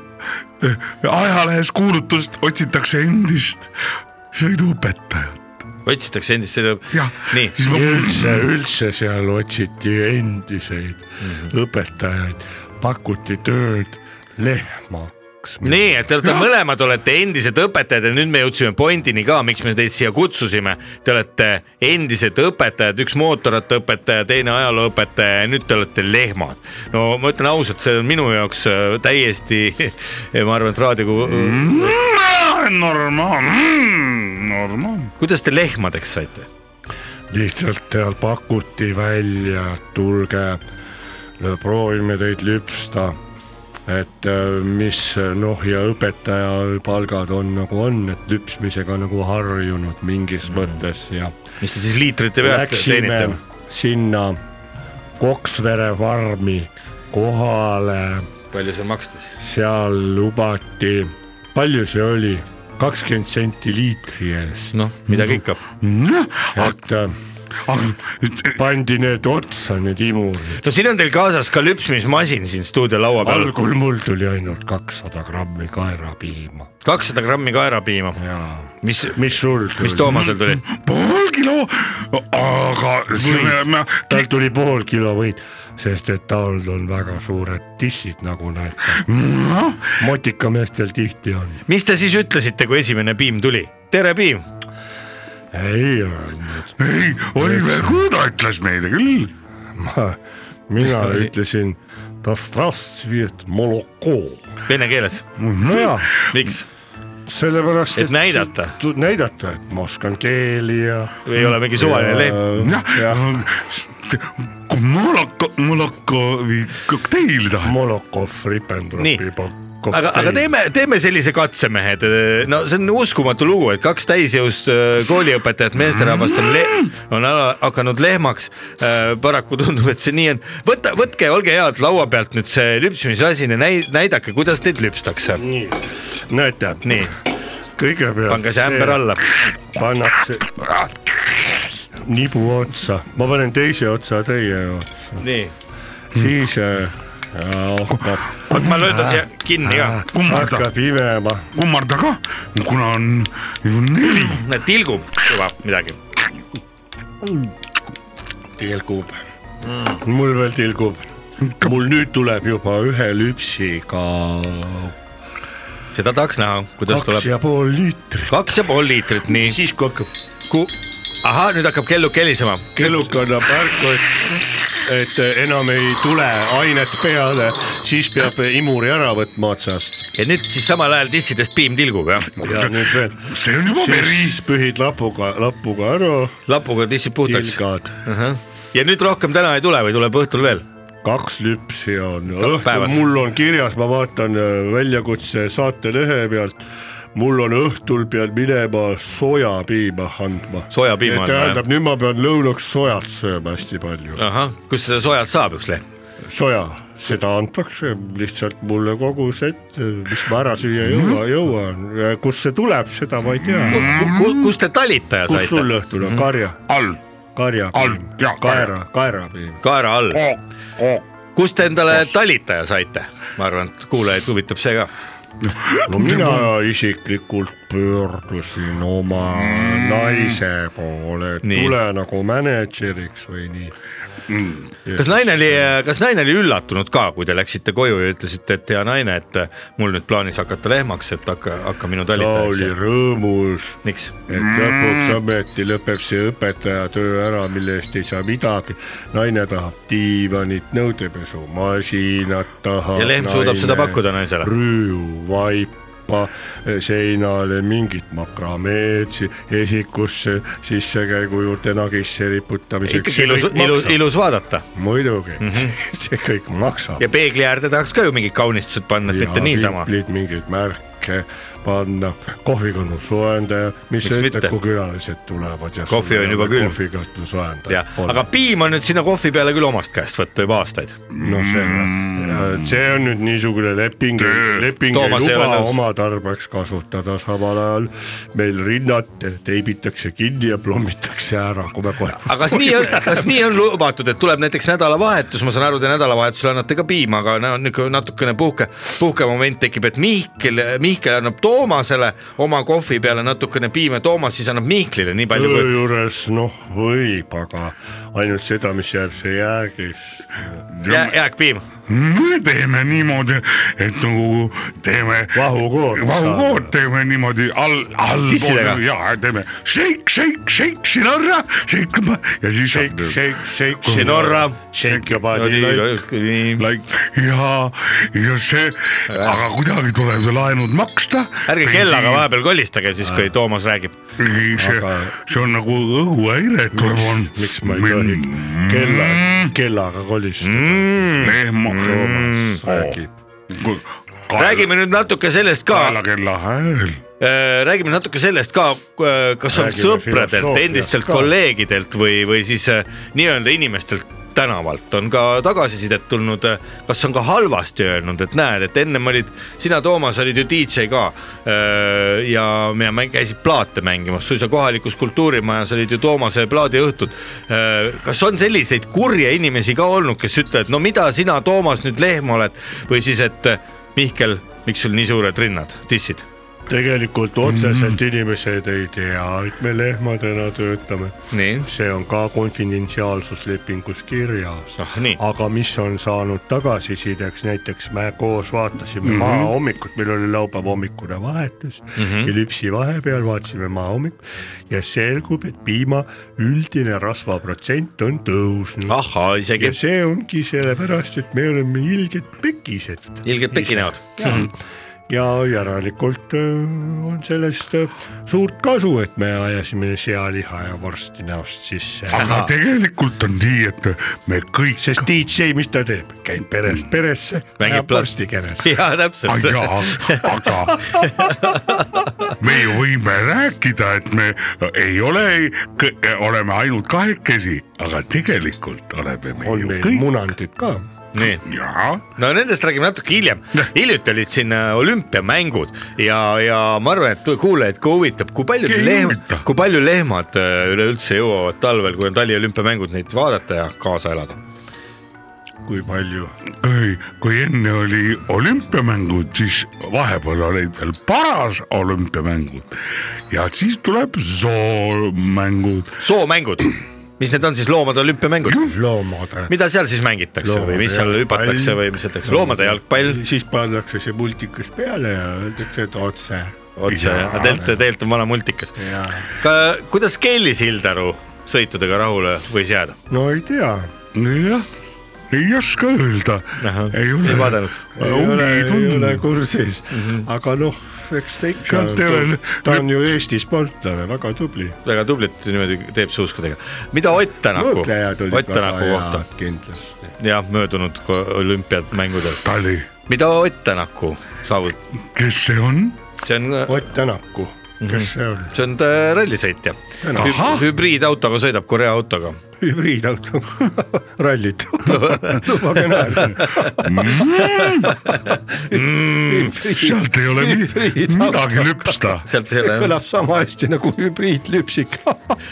äh, ajalehes kuulutust otsitakse endist sõiduõpetajat . otsitakse endist sõidu Jah. , nii siis ma üldse , üldse seal otsiti endiseid Mhm. õpetajaid , pakuti tööd lehmaks . nii , et te olete mõlemad olete endised õpetajad ja nüüd me jõudsime pointini ka , miks me teid siia kutsusime . Te olete endised õpetajad , üks mootorrattaõpetaja , teine ajalooõpetaja ja nüüd te olete lehmad . no ma ütlen ausalt , see on minu jaoks äh, täiesti , ma arvan , et raadio , normaalne , normaalne . kuidas te lehmadeks saite ? lihtsalt seal pakuti välja , tulge , proovime teid lüpsta . et äh, mis noh , ja õpetaja palgad on nagu on , et lüpsmisega nagu harjunud mingis mõttes ja mis te siis liitrite pealt läksime teenite ? sinna Koksvere farmi kohale , palju see makstis ? seal lubati , palju see oli , kakskümmend senti liitri eest , noh , midagi ikka . et äh, pandi need otsa , need imurid . no siin on teil kaasas ka lüpsmismasin siin stuudio laua peal , algul mul tuli ainult kakssada grammi kaerapiima kakssada grammi kaerapiima , ja mis , mis sul mis tuli ? Toomasel tuli ? pool kilo , aga see me oleme tal tuli pool kilo võit , sest et tal on väga suured tissid , nagu näete . Noh. motikameestel tihti on . mis te siis ütlesite , kui esimene piim tuli ? tere , piim , ei öelnud . ei , Oliver Kuuda ütles meile küll . mina ütlesin , vene keeles , nojah , miks ? sellepärast Mhm. Et näidata. . näidata , et ma oskan keeli ja . ei ole mingi suvaline lehm . jah , moloko , molokovi kokteil tahad . Molokov , Nii. Ribbentropi pakk . aga , aga . teeme , teeme sellise katse , mehed . no see on uskumatu lugu , et kaks täisjõust öö, kooliõpetajat meesterahvast on , on ala- hakanud lehmaks . paraku tundub , et see nii on . võta , võtke , olge head , laua pealt nüüd see lüpsmisasine , näi- , näidake , kuidas teid lüpstakse . näete , nii , kõigepealt . pange see ämber . alla . pannakse nibu otsa , ma panen teise otsa teie otsa , nii , siis Hmm. äh, hakkab , ma löön siia kinni ka . kummarda , hakkab imema , kummarda ka , kuna on ju neli . tilgub juba midagi . tilgub mm. . mul veel tilgub , mul nüüd tuleb juba ühe lüpsiga seda tahaks näha , kuidas kaks tuleb . ja pool liitrit , kaks ja pool liitrit , nii . siis kui hakkab ahah , nüüd hakkab kellu kelisema kelluk annab märku , et et enam ei tule ainet peale , siis peab imuri ära võtma otsast ja nüüd siis samal ajal tissidest piim tilgub jah ? ja nüüd veel see on juba veri . siis pühid lapuga , lapuga ära , lapuga tissid puhtaks . tilgad , ja nüüd rohkem täna ei tule või tuleb õhtul veel ? kaks lüpsi on õhtul päevas. , mul on kirjas , ma vaatan äh, väljakutse saatelehe pealt , mul on õhtul pean minema sojapiima andma . Soja piima andma, tähendab , nüüd ma pean lõunaks sojat sööma hästi palju , ahah , kust seda soojalt saab üks lehm ? soja , seda antakse lihtsalt mulle kogu sett , mis ma ära süüa ei Mhm. jõua , jõuan , kust see tuleb , seda ma ei tea . kust te talitaja Mm. kus sul Mhm. saite ? Mhm. õhtul on karja , all , karjapiim All- jaa, , kaera , kaerapiim . kaera all . Oh, kust te endale talitaja saite ? ma arvan , et kuulajaid huvitab see ka . no mina isiklikult pöördusin oma naise poole , et Mm. Nii. tule nagu mänedžeriks või nii . Mm. kas naine oli , kas naine oli üllatunud ka , kui te läksite koju ja ütlesite , et hea naine , et äh, mul nüüd plaanis hakata lehmaks , et hakka , hakka minu ta oli talitajaks ? rõõmus , miks ? et lõpuks ometi lõpeb see õpetaja töö ära , mille eest ei saa midagi . naine tahab diivanit , nõudepesumasinat tahab . ja lehm suudab seda pakkuda naisele ? rüüvvaipa seinale mingit makrameed si- esikusse sissekäigu juurde nagisse riputamiseks . ikkagi ilus , ilus , Mhm. ilus vaadata muidugi mm , -hmm. see kõik maksab . ja peegli äärde tahaks ka ju mingid kaunistused panna , et mitte niisama . mingeid märke panna , kohvikonnu soojendaja , mis Miks sa ütled mitte? , kui külalised tulevad ja . Kohvi on juba külm. kohvikõhtu soojendaja jah , aga . piim on nüüd sinna kohvi peale küll omast käest võtta juba aastaid . no see , see on nüüd niisugune leping , leping ei mm. Toomas ei ole luba nõus. oma tarbeks kasutada , samal ajal meil rinnad teibitakse kinni ja plommitakse ära , kui me kohe . aga kas nii on , kas nii on lubatud , et tuleb näiteks nädalavahetus , ma saan aru , te nädalavahetusel annate ka piima , aga no niisugune natukene puhke , puhkemoment tekib , et Mihkel , Mihkel annab Toomasele oma kohvi peale natukene piima , Toomas siis annab Mihklile nii palju töö kui . juures noh , võib , aga ainult seda , mis jääb see jäägis jääkpiim , me teeme niimoodi , et nagu teeme . Vahukoor. vahukood teeme niimoodi all , Tissidega. allpool ja teeme shake , shake , shake sinarra , shake ja siis . shake , shake , shake . Sinorra . Shake your body like . Äh. ärge Like, ja , ja see , aga kuidagi tuleb ju laenud maksta . kellaga . vahepeal kolistage siis , kui Toomas räägib . ei , see Aga- , see on nagu õhuhäire , et tuleb on . miks ma ei tohi mm. kella , kellaga kolistada , Hmm. lehma . Mm. räägib . räägime nüüd natuke sellest ka kaelakella hääl . Äh, räägime natuke sellest ka , kas on Räägime sõpradelt , filosoofiast endistelt ka. kolleegidelt või , või siis äh, nii-öelda inimestelt tänavalt on ka tagasisidet tulnud , kas on ka halvasti öelnud , et näed , et ennem olid sina , Toomas , olid ju DJ ka äh, ja , ja mäng, käisid plaate mängimas , suisa kohalikus kultuurimajas olid ju Toomase plaadiõhtud . kas on selliseid kurje inimesi ka olnud , kes ütlevad , no mida sina , Toomas , nüüd lehm oled või siis , et äh, Mihkel , miks sul nii suured rinnad , tissid ? tegelikult otseselt Mm. inimesed ei tea , et me lehmadena töötame . nii , see on ka konfidentsiaalsuslepingus kirjas . ah nii , aga mis on saanud tagasisideks , näiteks me koos vaatasime mm Mhm. -hmm. Maa hommikut , meil oli laupäeva hommikune vahetus mm Mhm. -hmm. ja lüpsi vahepeal vaatasime Maa hommikut ja selgub , et piima üldine rasvaprotsent on tõusnud . ahhaa , ja Ah, isegi see ongi sellepärast , et me oleme ilged pekised . ilgelt pekinäod . Mhm. ja järelikult öö, on sellest öö, suurt kasu , et me ajasime sealiha ja vorsti näost sisse . aga tegelikult on nii , et me kõik , sest DJ , mis ta teeb , käib perest peresse , Mängib ajab plat- vorsti käres . jaa , täpselt . jaa , aga me ju võime rääkida , et me ei ole , oleme ainult kahekesi , aga tegelikult oleme me on ju meil kõik . munandid ka . nii , jaa , no nendest räägime natuke hiljem . hiljuti olid siin äh, olümpiamängud ja , ja ma arvan , et tu- kuulajaid ka huvitab , kui palju Ei lehm- huvita. , kui palju lehmad äh, üleüldse jõuavad talvel , kui on taliolümpiamängud , neid vaadata ja kaasa elada . kui palju ? kui , kui enne oli olümpiamängud , siis vahepeal olid veel paras olümpiamängud ja siis tuleb soomängud . soomängud , mis need on siis , loomade olümpiamängud ? loomade . mida seal siis mängitakse või mis seal Loomade hüpatakse jalgpall. või mis öeldakse , loomade jalgpall siis pannakse see multikas peale ja öeldakse , et otse . otse , tegelikult , tegelikult on vana multikas . jaa . kuidas Kelly Sildaru sõitudega rahule võis jääda ? no ei tea . jah , ei oska öelda Ahah, , ei ei ole vaadanud. . ei ole , ei ei ole tundnud . kursis mm , -hmm. aga noh , eks ta ikka Sealt ei ole- , ta on ju Eesti sportlane , väga tubli . väga tublit niimoodi teeb suuskudega . mida Ott Tänaku , mõtlejad olid Ott väga Tänaku kohta head kindlasti . jah , möödunud ko- olümpiamängudel , Tali , mida Ott Tänaku saavutas , kes see on ? see on , Ott Tänaku , Mhm. kes see on ? see on ta rallisõitja Hüb . hübriidautoga sõidab Korea autoga . hübriidauto , rallid . lubage naerda . Mm. sealt ei ole mi- Hübriidauto. midagi lüpsta . sealt ei see ole , kõlab sama hästi nagu hübriidlüpsik .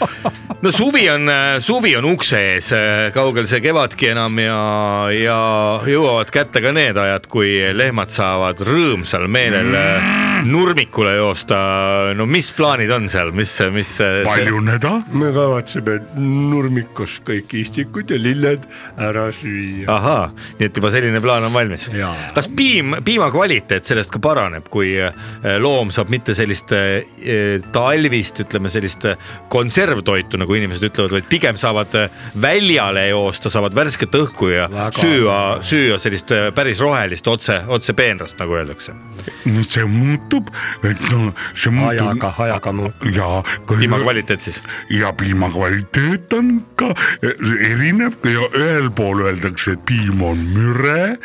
no suvi on , suvi on ukse ees , kaugel see kevadki enam ja , ja jõuavad kätte ka need ajad , kui lehmad saavad rõõmsal meelel äh, nurmikule joosta . no mis plaanid on seal , mis , mis ? äh, paljuneda , me kavatseme nurmikus kõik istikud ja lilled ära süüa . ahaa , nii et juba selline plaan on valmis Jaa. . kas piim , piima kvaliteet sellest ka paraneb , kui äh, loom saab mitte sellist äh, talvist , ütleme sellist äh, konservtoitu , nagu inimesed ütlevad , vaid pigem saavad äh, väljale joosta , saavad värsket õhku ja Väga. süüa , süüa sellist äh, päris rohelist otse , otse peenrast , nagu öeldakse . nüüd see muutub , et no see muutub ajaga , ajaga muutub . ja . piima kvaliteet siis , ja piima kvaliteet on ka see erinev ja ühel pool öeldakse , et piim on müre ,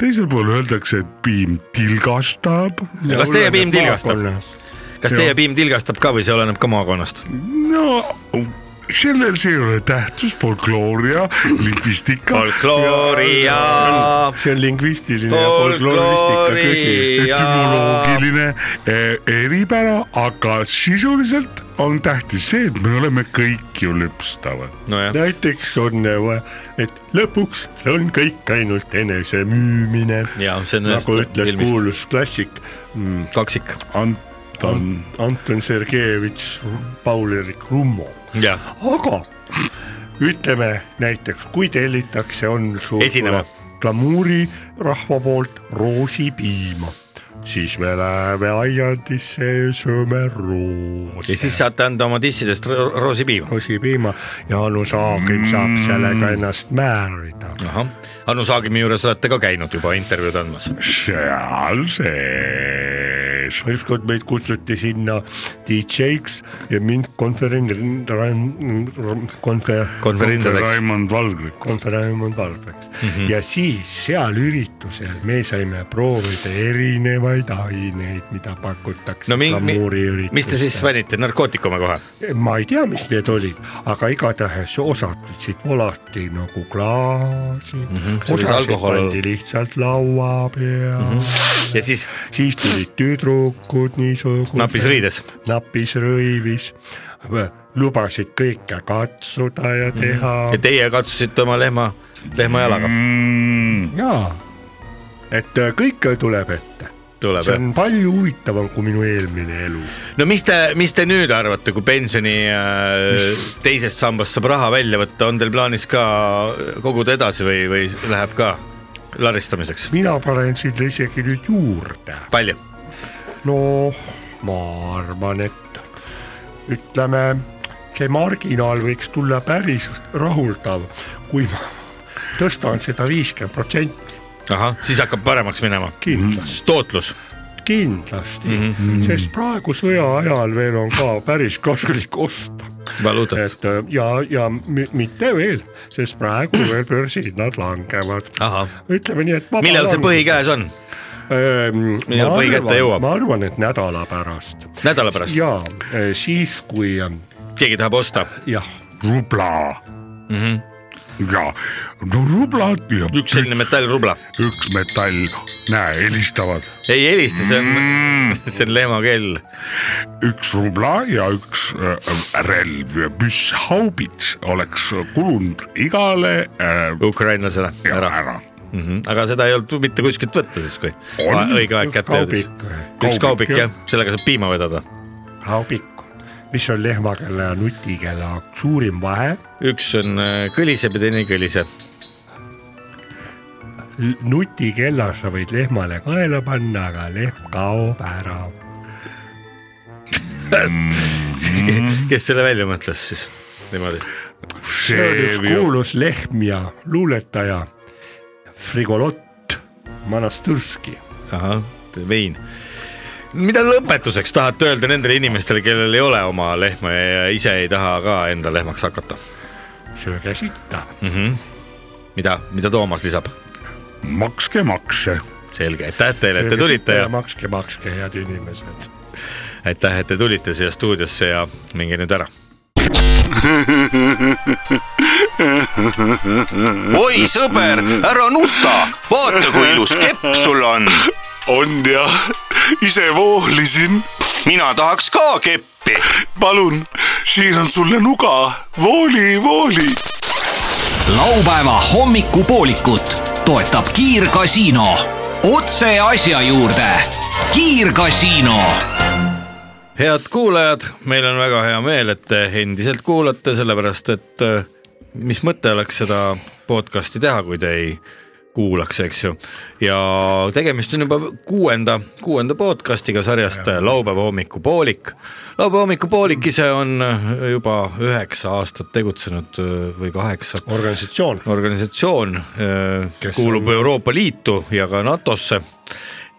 teisel pool öeldakse , et piim tilgastab . Kas teie piim tilgastab? ? kas teie piim tilgastab ka või see oleneb ka maakonnast ? no sellel , see ei ole tähtsus , folklooria , lingvistika . folklooria , Ah. see on lingvistiline ja folkloristika küsimus . folklooria . etümoloogiline eh, eripära , aga sisuliselt on tähtis see , et me oleme kõik ju lüpstavad . nojah , näiteks on , et lõpuks on kõik ainult enese müümine . ja see on nagu ütles kuulus klassik kaksik . Anton , Anton Sergejevitš , Paul-Erik Rummo , jah , aga ütleme näiteks , kui tellitakse , on suur Esinema. glamuuri rahva poolt roosipiima , siis me läheme aiandisse ja sööme roosi ja siis saate anda oma dissidest ro- roosipiima . roosipiima ja Anu Saagim saab Mm. sellega ennast määrida . ahah , Anu Saagimi juures olete ka käinud juba intervjuud andmas . seal sees . ükskord meid kutsuti sinna DJ-ks ja mind konverin- , konver- . konverentsideks . Mhm. Raimond Valgrik . konverentsimond Valbreks mm -hmm. ja siis seal üritusel me saime proovida erinevaid aineid , mida pakutakse no mingi , glamuuriüritustel . mis te siis ? panite , narkootikume kohe ? ma ei tea , mis need olid , aga igatahes osasid volati nagu klaasi mm , -hmm. Mhm. see oli see osasid alkohol. Mhm. pandi lihtsalt laua peale mm . -hmm ja siis siis tulid tüdrukud niisugused . Napis riides. . napis rõivis , lubasid kõike katsuda ja teha ja teie katsusite oma lehma , Mm. lehma jalaga . jaa , et äh, kõike tuleb ette tuleb see jah ? on palju huvitavam kui minu eelmine elu . no mis te , mis te nüüd arvate , kui pensioni äh, teisest sambast saab raha välja võtta , on teil plaanis ka koguda edasi või , või läheb ka laristamiseks ? mina panen sinna isegi nüüd juurde . palju ? noh , ma arvan , et ütleme , see marginaal võiks tulla päris rahuldav , kui ma tõstan seda viiskümmend protsenti ahah , siis hakkab paremaks minema . kindlasti . tootlus , kindlasti Mhm. mm , -hmm. sest praegu sõja ajal veel on ka päris kasulik osta , valuutat . et äh, ja , ja mi- mitte veel , sest praegu veel börsihinnad langevad . ahah , ütleme nii , et . millal see põhi ? käes on ? millal põhi kätte jõuab? ma arvan , et nädala pärast nädala pärast ? ja äh, siis , kui äh, keegi tahab osta ? jah , rubla mm . -hmm. ja no rublad ja üks selline metallrubla . üks metall , näe , helistavad ei helista , see on , see on lehmakell . üks rubla ja üks äh, relv ja püsshaubits oleks kulunud igale äh, ukrainlasele ja ära, ära, ära. . ära. . Mm -hmm. aga seda ei olnud mitte kuskilt võtta siis , kui On. a- õige aeg kätte jõudis . üks kaubik jah , sellega saab piima vedada . kaubik , mis on lehmakella ja nutikella suurim vahe , üks on äh, kõliseb ja teine ei kõlise . nutikella sa võid lehmale kaela panna , aga lehm kaob ära kes selle välja mõtles siis niimoodi ? see on üks kuulus lehm ja luuletaja Frigolott Manastõrski . ahah , vein . mida lõpetuseks tahate öelda nendele inimestele , kellel ei ole oma lehma ja ise ei taha ka enda lehmaks hakata ? sööge sitta . mida , mida Toomas lisab ? makske makse . selge , aitäh teile , et te tulite ja makske , makske , head inimesed . aitäh , et te tulite siia stuudiosse ja minge nüüd ära oi sõber , ära nuta , vaata kui ilus kepp sul on . on jah , ise voolisin . mina tahaks ka keppi . palun , siin on sulle nuga , vooli , vooli laupäeva hommikupoolikut toetab Kiirgasiino . otse asja juurde . kiirgasiino head kuulajad , meil on väga hea meel , et te endiselt kuulate , sellepärast et äh, mis mõte oleks seda podcast'i teha , kui te ei kuulaks , eks ju . ja tegemist on juba kuuenda , kuuenda podcast'iga sarjast laupäeva hommikupoolik . laupäeva hommikupoolik ise on äh, juba üheksa aastat tegutsenud äh, või kaheksa organisatsioon , organisatsioon , Kes kuulub Euroopa Liitu ja ka NATO-sse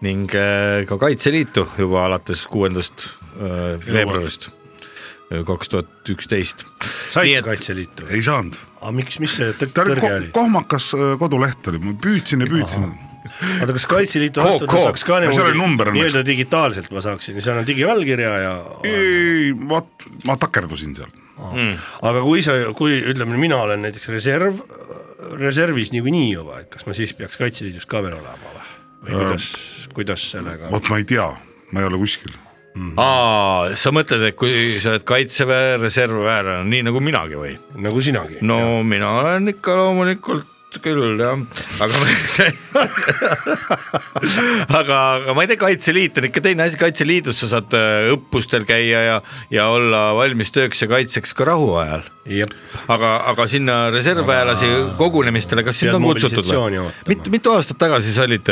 ning äh, ka Kaitseliitu juba alates kuuendast äh, veebruarist äh, kaks tuhat üksteist . said sa Kaitseliitu ? ei saanud , aga miks , mis see tõ- ta oli tõrge ko oli ? kohmakas äh, koduleht oli , ma püüdsin ja püüdsin . oota , kas Kaitseliitu Ko- astuda ko- saaks ka seal oli niimoodi number on nii-öelda digitaalselt ma saaksin , seal on digiallkirja ja ei , vot ma takerdusin seal . Mm. aga kui sa , kui ütleme , mina olen näiteks reserv , reservis niikuinii juba , et kas ma siis peaks Kaitseliidus ka veel olema või ? või kuidas , kuidas sellega ? Äh, vot ma ei tea , ma ei ole kuskil . aa , sa mõtled , et kui sa oled kaitseväe reservväelane , nii nagu minagi või ? nagu sinagi . no ja. mina olen ikka loomulikult küll jah , aga see aga , aga ma ei tea , Kaitseliit on ikka teine asi , Kaitseliidus sa saad äh, õppustel käia ja , ja olla valmis tööks ja kaitseks ka rahuajal . jah , aga , aga sinna reservväelasi kogunemistele , kas sind Pead on kutsutud mobilisatsiooni või ootama. ? mitu , mitu aastat tagasi sa olid ,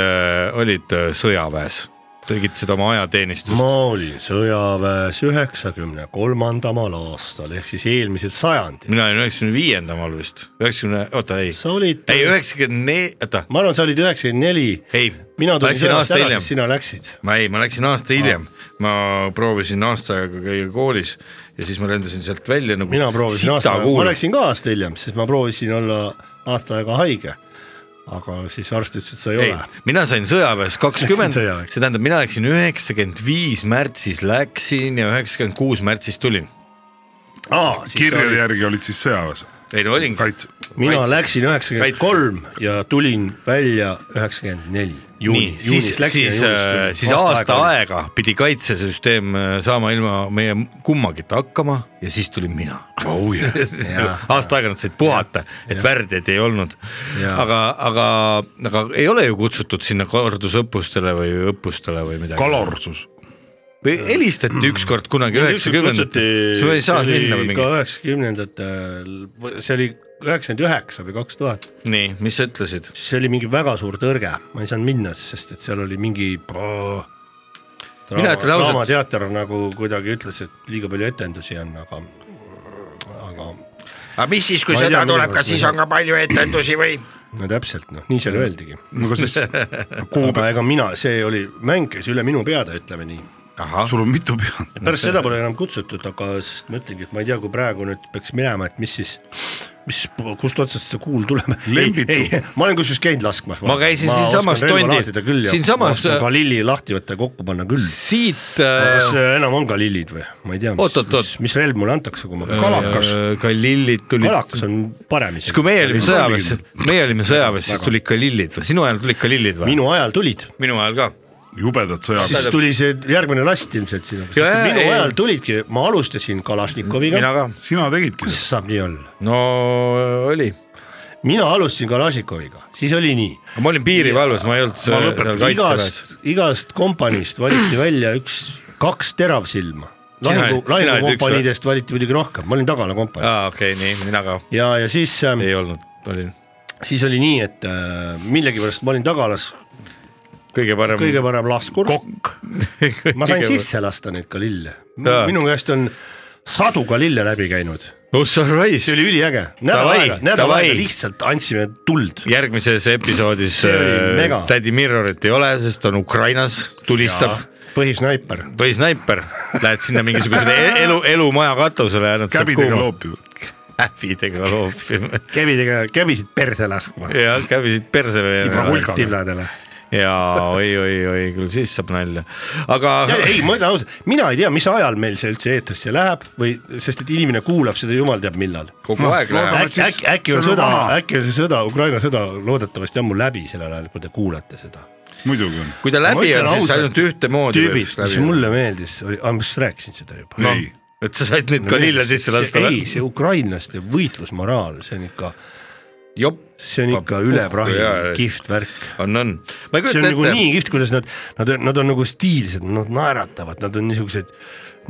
olid äh, sõjaväes , tegid seda oma ajateenistust ma ? olin sõjaväes üheksakümne kolmandamal aastal ehk siis eelmisel sajandil . mina olin üheksakümne viiendamal vist , üheksakümne , oota ei , sa olid , ei üheksakümne neli , oota , ma arvan , sa olid üheksakümmend neli . ei , mina tulin läksin sõjast aasta ära , hiljem siis sina läksid . ma ei , ma läksin aasta hiljem , ma proovisin aasta aega käia koolis ja siis ma lendasin sealt välja nagu mina proovisin aasta , ma kuul . läksin ka aasta hiljem , sest ma proovisin olla aasta aega haige . aga siis arst ütles , et sa ei, ei ei ole , mina sain sõjaväes kakskümmend , sõjaväes. see tähendab , mina läksin üheksakümmend viis märtsis läksin ja üheksakümmend kuus märtsis tulin . ah, . kirjade järgi olid siis sõjaväes , ei no olin , kaitse . mina kaitses. läksin üheksakümmend kolm ja tulin välja üheksakümmend neli . nii , juunis , siis juunis , läks siis , siis aasta aega pidi kaitsesüsteem äh, saama ilma meie kummagita hakkama ja siis tulin mina oh jah , aasta aega nad said puhata , et värdjaid ei olnud . Jaa. aga , aga , aga ei ole ju kutsutud sinna kordusõppustele või õppustele või midagi . kalorsus . või helistati ükskord kunagi üheksakümnendatel , sul ei saa minna või ka mingi . üheksakümnendatel , see oli üheksakümmend üheksa või kaks tuhat , nii , mis sa ütlesid ? siis oli mingi väga suur tõrge , ma ei saanud minna , sest et seal oli mingi . Mina ütlen ausalt- draamateater nagu kuidagi ütles , et liiga palju etendusi on , aga , aga aga mis siis , kui Ma ei sõda tea, tuleb , kas millegipärast siis ma- on ka palju etendusi või ? no täpselt noh , Mm. nii seal öeldigi . no kas siis aga ega mina , see oli mäng , kes üle minu peade , ütleme nii . ahah , sul on mitu pead ? pärast Noh, seda pole enam kutsutud , aga sest ma ütlengi , et ma ei tea , kui praegu nüüd peaks minema , et mis siis , mis , kust otsast see kuul tuleb . Lembitu. ma olen kusjuures käinud laskmas . Ma käisin siinsamas tondi- siinsamas- siinsamas . Galili lahti võtta ja kokku panna küll . siit kas äh, . äh, enam on Galilid või , ma ei tea , mis, Oot, oot, oot. mis, mis relv mulle antakse , kui ma . Kalakas. Galilid äh, tulid kalakas on parem siis isegi . kui meie olime sõjaväes , meie olime sõjaväes , siis Väga. tulid Galilid või sinu ajal tulid Galilid või ? minu ajal tulid , minu ajal ka . jubedad sõjaväes siis . tuli see järgmine last ilmselt sinna , sest Jaa, et minu ei. ajal tulidki , ma alustasin Kalašnikoviga mina ka . sina tegidki kuidas seda ? saab nii olla ? no äh, oli , mina alustasin Kalašikoviga , siis oli nii . ma olin piirivalves , ma ei olnud ma seal lõpetan , kaitseväes . igast , igast kompaniist valiti välja üks , kaks teravsilma . Sina lahingu olid- , sina olid lahingukompaniidest valiti muidugi rohkem , ma olin tagala kompanii aa , okei , nii , mina ka ja , ja siis , ei olnud , olin siis oli nii , et äh, millegipärast ma olin tagalas kõige parem . kõige parem laskur , kokk , ma sain . sisse lasta neid Galille . Jaa. minu käest on sadu Galille läbi käinud , Ussar see Rice , oli üliäge , nädal Davai, aega , nädal davai. aega lihtsalt andsime tuld . järgmises episoodis See oli äh, mega. tädi Mirrorit ei ole , sest on Ukrainas , tulistab põhisnaiper või snaiper , lähed sinna mingisugusele e- elu , elumaja katusele ja nad saab käbidega kuuma . loopivad . käbidega loopima käbidega , käbisid perse laskma . ja käbisid persele Hulgaga. tibladele . ja oi-oi-oi , küll siis saab nalja , aga ei , ma ütlen ausalt , mina ei tea , mis ajal meil see üldse eetrisse läheb või , sest et inimene kuulab seda jumal teab millal . kogu aeg läheb . äkki , äkki , äkki on see on sõda vana. , äkki on see sõda , Ukraina sõda loodetavasti ammu läbi sellel ajal , kui te kuulate seda . muidugi on . kui ta ma läbi ütlen on , siis ausalt, ainult ühtemoodi . tüübid , mis mulle meeldis , oli , aa , ma just rääkisin seda juba . ei , et sa said neid Galila sisse lasta ei , see ukrainlaste võitlusmoraal , see on ikka , jopp , see on ikka Ma üle puhku prahi jaa, ja- kihvt värk on , on . ma ei see kujuta on nagu ette , nii kihvt , kuidas nad , nad , nad on nagu stiilsed , nad naeratavad , nad on niisugused ,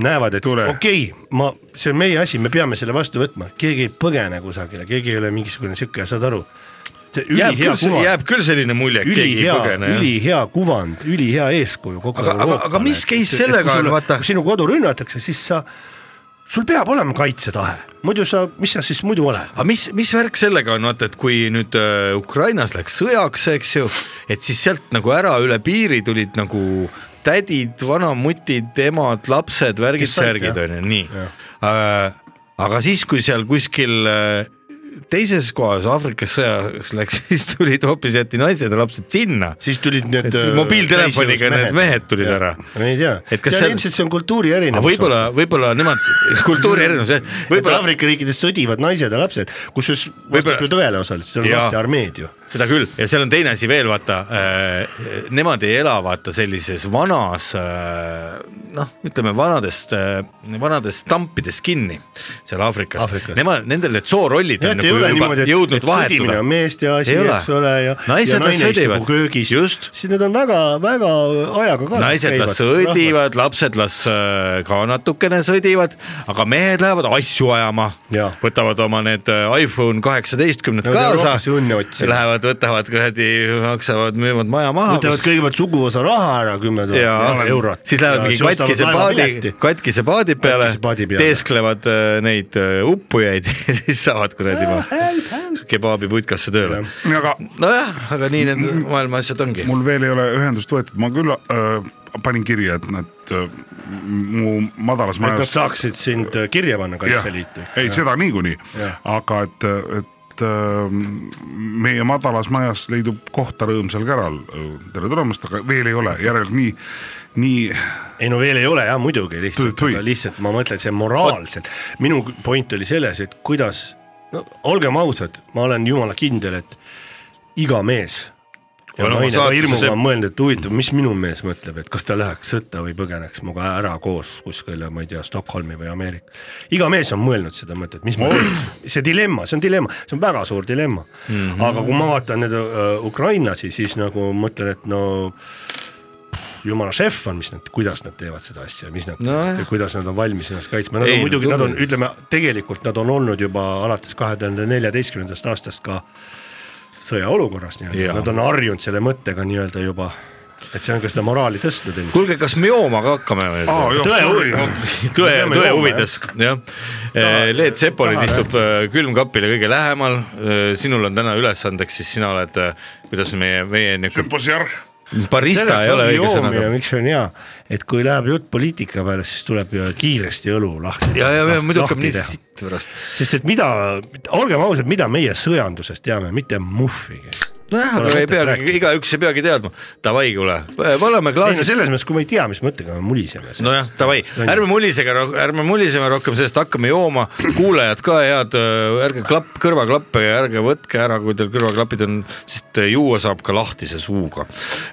näevad , et Tule. okei okay, , ma , see on meie asi , me peame selle vastu võtma , keegi ei põgene kusagile , keegi ei ole mingisugune sihuke , saad aru . see jääb ülihea küll , kuvand , jääb küll selline mulje , et keegi ei ülihea , põgene . ülihea kuvand , ülihea eeskuju kogu Aga- aga- Euroopale . aga mis case sellega on, vaata- kui sinu kodu rünnatakse , siis sa , sul peab olema kaitsetahe , muidu sa , mis sa siis muidu oled ? aga mis , mis värk sellega on , vaata , et kui nüüd äh, Ukrainas läks sõjaks , eks ju , et siis sealt nagu ära üle piiri tulid nagu tädid , vanamutid , emad , lapsed , värgid , Kes said, särgid jah. on ju , nii . aga siis , kui seal kuskil äh, teises kohas Aafrikas sõjaks läks , siis tulid hoopis jäeti naised ja lapsed sinna . siis tulid need Et mobiiltelefoniga need äh, mehed tulid ära. ma ei tea , Et kas seal seal- ilmselt see on kultuuri aga erinevus . võib-olla , võib-olla nemad , kultuuri erinevus jah , võib-olla võib-olla Aafrika riikides sõdivad naised ja lapsed , kusjuures Võib-olla- vastab ju tõele osaliselt , seal on Jaa. lastearmeed ju . seda küll ja seal on teine asi veel vaata , nemad ei ela vaata sellises vanas äh, noh , ütleme vanadest , vanadest stampides kinni seal Aafrikas, Aafrikas. Nemad , nendel need soorollid jah , on et ei nagu ole juba niimoodi , et , jõudnud et sõdimine vahetuda on . meeste asi Ei , ole. eks ole , ja Naised ja las naine istub nagu sõdivad. köögis Just. , siis need on väga-väga ajaga kaasas naised las sõdivad , lapsed las äh, ka natukene sõdivad , aga mehed lähevad asju ajama Jaa. , võtavad oma need äh, iPhone kaheksateistkümned Nad lähevad kaasa Euroopasse , õnne otsima. lähevad , võtavad kuradi , maksavad , müüvad maja maha . võtavad kõigepealt suguvõsa raha ära , kümme ja tuhat eurot . siis lähevad mingi katkise paadi , katkise paadi peale Katkise , paadi peale. teesklevad äh, neid äh, uppujaid ja siis saavad kuradi Ah, kebaabipuitkasse tööle . aga nojah , aga nii need Mm. maailma asjad ongi . mul veel ei ole ühendust võetud , ma küll öö, panin kirja , et nad öö, mu madalas et nad majas . saaksid sind äh, kirja panna Kaitseliitu . ei , seda niikuinii Jah. , aga et , et öö, meie madalas majas leidub kohta rõõmsal käral . tere tulemast , aga veel ei ole , järelikult nii , nii ei no veel ei ole jah , muidugi lihtsalt , Tui, tui. aga lihtsalt ma mõtlen , see moraalselt , minu point oli selles , et kuidas , no olgem ausad , ma olen jumala kindel , et iga mees ja Olema naine ka saatuse hirmuga see- on mõelnud , et huvitav , mis minu mees mõtleb , et kas ta läheks sõtta või põgeneks minuga ära koos kuskile , ma ei tea , Stockholmi või Ameerika . iga mees on mõelnud seda mõtet , mis ma teeks , see dilemma , see on dilemma , see on väga suur dilemma mm . -hmm. aga kui ma vaatan nüüd äh, ukrainlasi , siis nagu mõtlen , et no jumala šef on , mis nad , kuidas nad teevad seda asja , mis nad no, , kuidas nad on valmis ennast kaitsma , nad Ei, on no muidugi , nad on , tubli. ütleme tegelikult nad on olnud juba alates kahe tuhande neljateistkümnendast aastast ka sõjaolukorras Jaa. nii-öelda , nad on harjunud selle mõttega nii-öelda juba , et see on ka seda moraali tõstnud ilmselt . kuulge , kas me jooma ka hakkame või ? tõe huvi . tõe me , peame tõe jooma, huvides , jah . Leet Sepolin istub äh, külmkapile kõige lähemal . sinul on täna ülesandeks , siis sina oled , kuidas meie , meie niuke sümposiarh . barista ei ole õige sõna . miks see on hea , et kui läheb jutt poliitika peale , siis tuleb ju kiiresti õlu lahti . ja , ja , ja muidu hakkab nii teha. sitt pärast . sest et mida , olgem ausad , mida meie sõjandusest teame , mitte muhvigi . nojah , aga ei peagi , igaüks ei peagi teadma . Davai , kuule , valame ei no klaasi . selles mõttes , kui me ei tea , mis mõttega me muliseme . nojah , davai , ärme mulisega , ärme muliseme rohkem sellest , hakkame jooma , kuulajad ka head , ärge klapp , kõrvaklappe ärge võtke ära , kui teil kõrvaklapid on , sest juua saab ka lahtise suuga .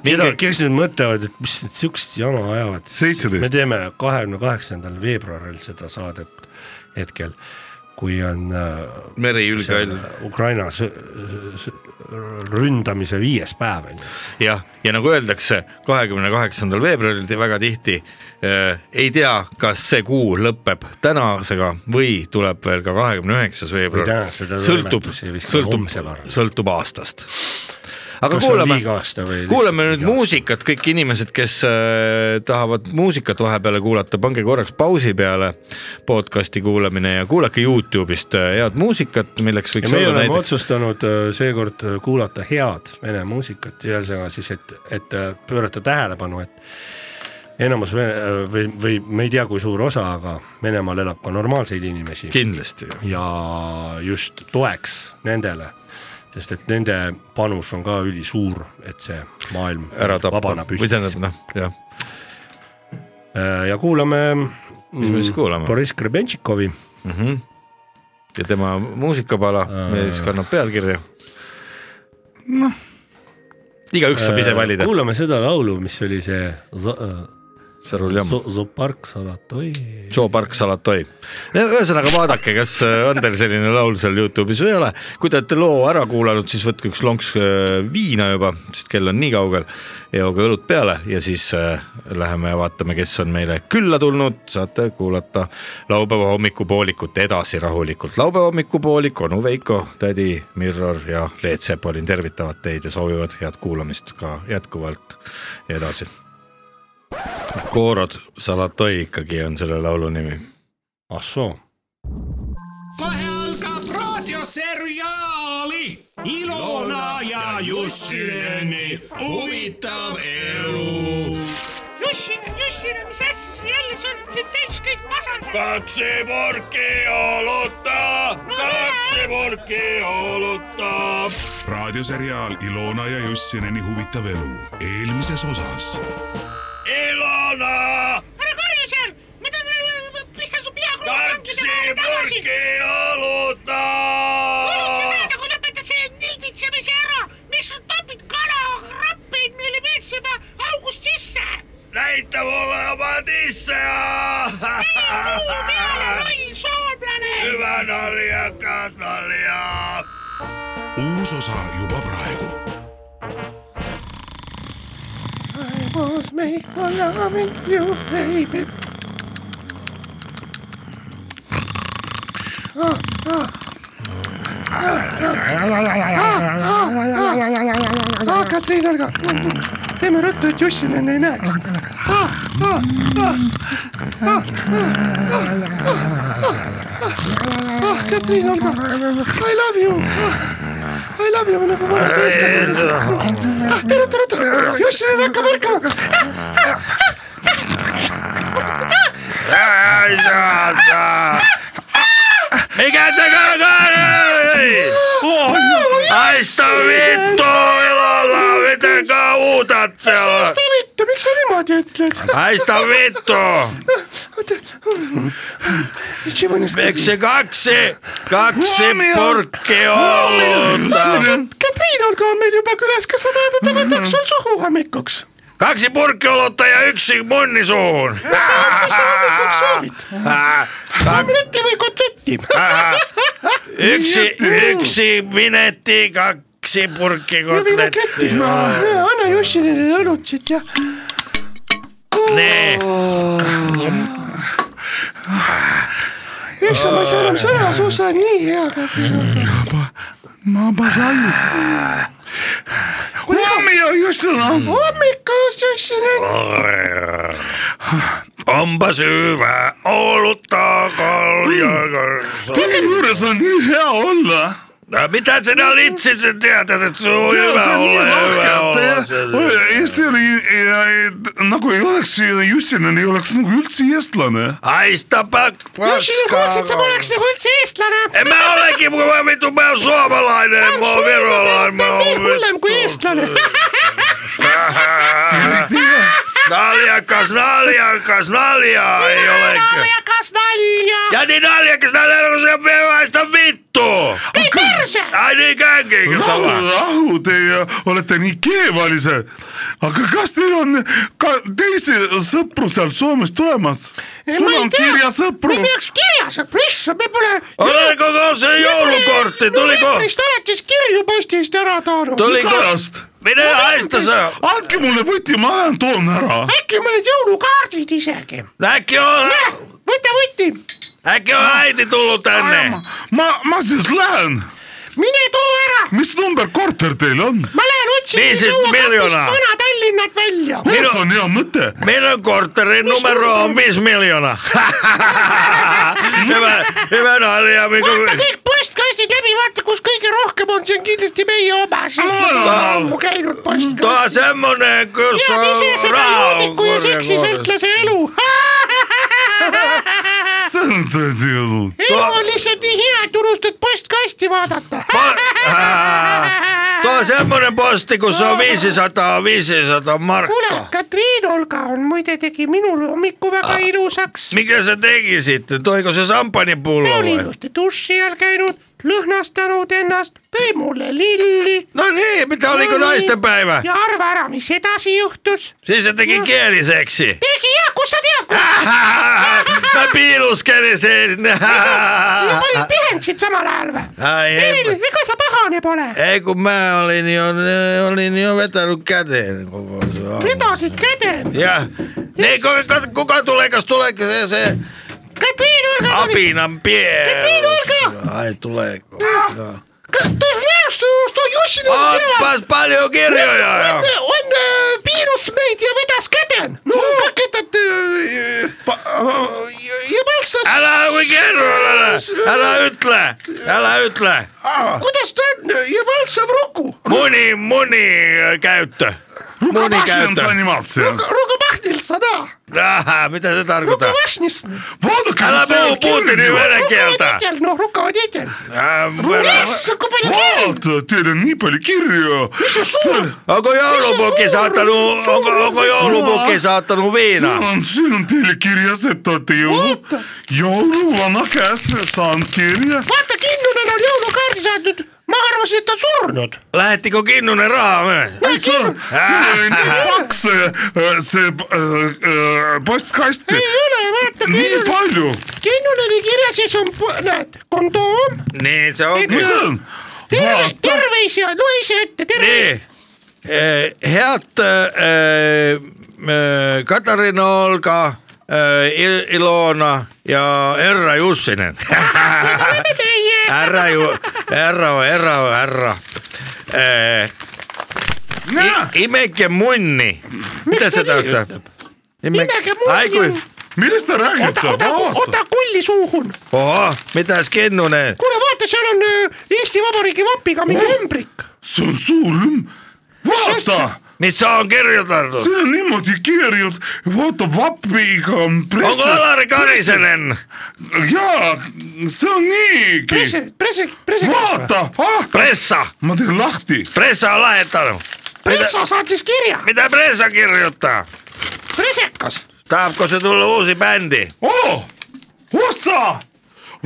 Keda , kes nüüd mõtlevad , et mis need siukest jama ajavad . 17. me teeme kahekümne kaheksandal veebruaril seda saadet hetkel , kui on äh, meri see ülgkall on Ukraina sõ- sõ- ründamise viies päev on ju . jah , ja nagu öeldakse , kahekümne kaheksandal veebruaril te- väga tihti äh, ei tea , kas see kuu lõpeb tänasega või tuleb veel ka kahekümne üheksas Või veebruar . tänase ta sõltub , võimetus ei viska sõltub homse varra. , sõltub aastast . aga Kas see on kuulame liiga aasta või lihtsalt kuulame nüüd liiga aasta? muusikat , kõik inimesed , kes äh, tahavad muusikat vahepeale kuulata , pange korraks pausi peale podcast'i kuulamine ja kuulake Youtube'ist äh, head muusikat , milleks ja võiks meie olla oleme näiteks . otsustanud äh, seekord äh, kuulata head vene muusikat , ühesõnaga siis , et , et äh, pöörata tähelepanu , et enamus vene, äh, või , või me ei tea , kui suur osa , aga Venemaal elab ka normaalseid inimesi kindlasti , ja just toeks nendele , sest et nende panus on ka ülisuur , et see maailm ära tappa vabana või püstis tähendab . noh , jah Äh, ja kuulame mis Mm. me siis kuulame Boris Krebenšikovi , ja tema muusikapala , mis kannab pealkirja . noh . igaüks saab ise valida . Äh, kuulame seda laulu , mis oli see äh, Z- Saruljam , Zo- Zopark Salatoi . Joe Park , Salatoi . ühesõnaga vaadake , kas äh, on teil selline laul seal Youtube'is või ei ole . kui te olete loo ära kuulanud , siis võtke üks lonks äh, viina juba , sest kell on nii kaugel . jooge õlut peale ja siis äh, läheme ja vaatame , kes on meile külla tulnud , saate kuulata laupäeva hommikupoolikut edasi rahulikult . laupäeva hommikupoolik , onu Veiko , tädi Mirror ja Leet Sepolin tervitavad teid ja soovivad head kuulamist ka jätkuvalt ja edasi . Koorod Salatoi ikkagi on selle laulu nimi ah soo , kohe algab raadioseriaali Ilona ja Jussileni huvitav elu . Jussin , Jussin , mis asja sa jälle , sul on siin täis kõik masendad . raadioseriaal Ilona ja Jussineni huvitav elu eelmises osas . ära karju seal , ma tahan , pistan su pea kogu tanki tagasi . kuulid sa seda , kui lõpetad selle nilbitsemise ära , miks sa topid kalakrappeid meile veetsema august sisse ? näita mulle oma tisse . loll soomlane . uus osa juba praegu . mikä se kakari? Haista vittu ilolla, miten kautat siellä? Haista vittu, miksi sä niimoodi ütlet? Haista vittu! Ничего не сказал. Eks see kaksi , kaksi purki olutta . Katriin olkoon meillä juba kylässä, kun sä näet, että mä sul suhu hommikuksi. Kaksi purki olutta ja yksi munni suuhun . Ja sä oot, no missä niin hommikuksi sovit. Omletti või kotletti? yksi , yksi minetti , kaksi purkki Ja minä kätti. kotletti . Anna Jussinille olut sit ja... Nee , Issand , ma ei saa enam sõna , su sa oled nii hea . Ma обожаю. Huomio Jussilon. hommikust , Jussinil . onpa syvä olutta kalja . Teie juures on nii hea olla . mitä sinä litsi sen tiedät , että se on Te hyvä olete olla nii ja hyvä lahked olla ja sen- oi, Eesti oli ja, et nagu ei oleks Jussilon , ei oleks nagu üldse eestlane . haista pak- Jussinil kuulsid , sa paskaa . poleks nagu üldse eestlane . En mä olekin, kun mä vittu, mä oon suomalainen, mä oon virolainen, mä oon veel hullem kui eestlane . Naljakas, naljakas, naljaa ei ole. naljakas nalja . Ja niin naljakas, naljakas, kun se on pevaista vittu. ei perse . Ai niin känkiinkö rahu sama? , rahu , teie olete nii keevalised . aga kas teil on ka teisi sõpru seal Soomes tulemas ? sul on kirjasõpru me . peaks kirjasõpru , issand , me pole . Oliko koko niin, se joulukortti? Tuliko? veebris alates kirju postist ära toonud . Tuliko? sajast ? Minä haista se. andke mulle võti , ma lähen toon ära . äkki on need jõulukaardid isegi . Äkki on, võta võti , äkki on äiti tullut tänne. ma , ma siis lähen . mine too ära , mis number korter teil on ? ma lähen otsin Viisteist miljonaa. Vana-Tallinnat välja . kuidas on hea mõte ? Minun kortterin numero on 5 miljoonaa. hyvä, hyvä nalja. Miku... vaata kõik postkastid läbi , vaata kus kõige rohkem on , see on kindlasti meie oma , sest me Jaa. oleme ammu käinud postkastis . Tuo on semmonen, kun niin se tead ise on seda raha on joodiku ja korjakohdassa. seksisõltlase elu see on tõsi elu . elu on lihtsalt nii hea , et unustad postkasti vaadata . Po- Ah. Tuo on semmonen posti, kun se on 500, 500 kuule markkaa. , Katriin Olga on muide tegi minul hommiku Ah. väga ilusaks . Mikä se teki sitten? Toiko se ta sampanipullo oli vai? ilusti duši all käinud , lõhnastanud ennast , tõi mulle lilli . No niin, mitä oliko naistenpäivä? ja arva ära , mis edasi juhtus . Siis se teki kieliseksi. tegi ja kust sa tead , Mä piiluskelin sen. sa panid pihentsid samal ajal või ? Ah, Ai ei ei, , ega sa pahane pole , ei kun mä olin jo, olin jo vetänyt käteen koko se aamu. vedasid käde . Ja niin, kuka, kuka tuleekas, tuleeko se, se Katriin Olga oli niin, apinan pie? Ei tuleekaan. Ai tuleeko? Ah. Joo. kas te teate , et Jussil on teada , Oppas paljon kirjoja jo. on äh, piinus meid ja vedas käden . no Hmm. kaketad äh, ja paltsas , Älä hui kerro, älä, älä ytlä, älä ytlä. kuidas ta on ja paltsav Ruku , Muni, muni äh, käyttö. Muni käyttö. niin Ruku Pahnilsa , noh . Aha, mitä se tarkoittaa? Ruku Vašnist . vaadake , Älä mis teil puhu on kirju Putinin Ähm, venäjän kieltä. titel , noh , Ruku on titel . Ää, issand , kui palju kirju , vaata , teil on nii palju kirju . mis see suur , Onko joulupukki Missä suuri- saattanut, onko, suuri- onko joulupukki saattanut siin viinaa? on , siin on teile kirjas , et te olete jõulud Oota. , jõuluvana käest saanud kirja . vaata Kinnunen on jõulukaardi saatnud , ma arvasin , et ta on surnud . Lähettikö Kinnunen rahaa myöhemmin? ei saa , nii paks see , see äh, äh, postkast , ei ole , vaata nii Kinnunen , palju . Kinnuneni kirja sees on , näed , kondoom Niin, se onkin. mis see on ? terve , Vaata. tervise , loe ise ette , tervise Niin. Eh, Head eh, eh, Katarina Olka, eh, Il- Ilona ja Erra Jussinen. oleme meie . Erra, Ju, Erra, Erra, Erra. Eh, näe , i- imeke munni. Mitä se tarkoittaa? Imeke niin? munni Ai kui, on- millest te räägite , oota , oota , vaata . oota kulli suuhun . oho, mitäs Kinnunen? kuule , vaata , seal on öö, Eesti Vabariigi vapiga mingi ümbrik . see on suur üm- , vaata , Missä on kirjoitettu? siin on niimoodi kirjad , vaata vapiga on Onko Alari press- Karisenen? jaa , see on niigi . presi- , presi- , president . vaata , ah , Pressa! ma teen lahti . Pressa on lähettänyt. pressa saatis kirja , Mitä Pressa kirjoittaa? presekas . Tahko se tulla uusi bändi? oo , otsa ,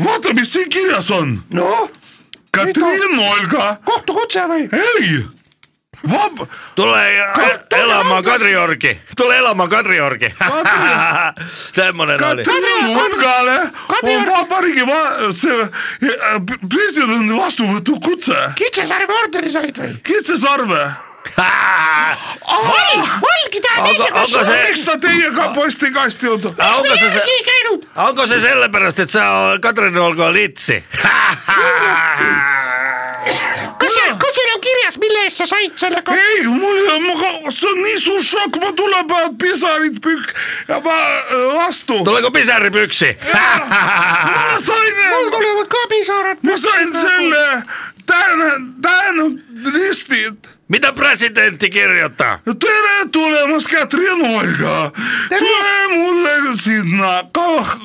vaata , mis siin kirjas on . noh . Katriin Molga . kohtukutse või ? ei , vab- . tule ja- elama Kadriorgi , tule elama Kadriorgi . semmoinen oli . Katriin Molgale on vabariigi va- , see eh, presidendi vastuvõtukutse . kitsesarve ordeni said või ? kitsesarve . oi , valgida aga see- miks ta teiega postikasti on ? onko se se , ei käinud . onko se sellepärast , et sa Kadrin olkoon litsi ? kas see , kas seal on kirjas , mille eest sa said selle ka- ? ei , mul , ma , see on nii suur šokk , mul tulevad pisarid pükk , ma äh, vastu . tuleeko pisaripyksi ? ma sain , mul tulevad ka pisarad . ma sain selle tähele , tähele ristid . mitä presidentti kirjoittaa ? tere tulemast , Katrin Olga . tule mulle sinna kah,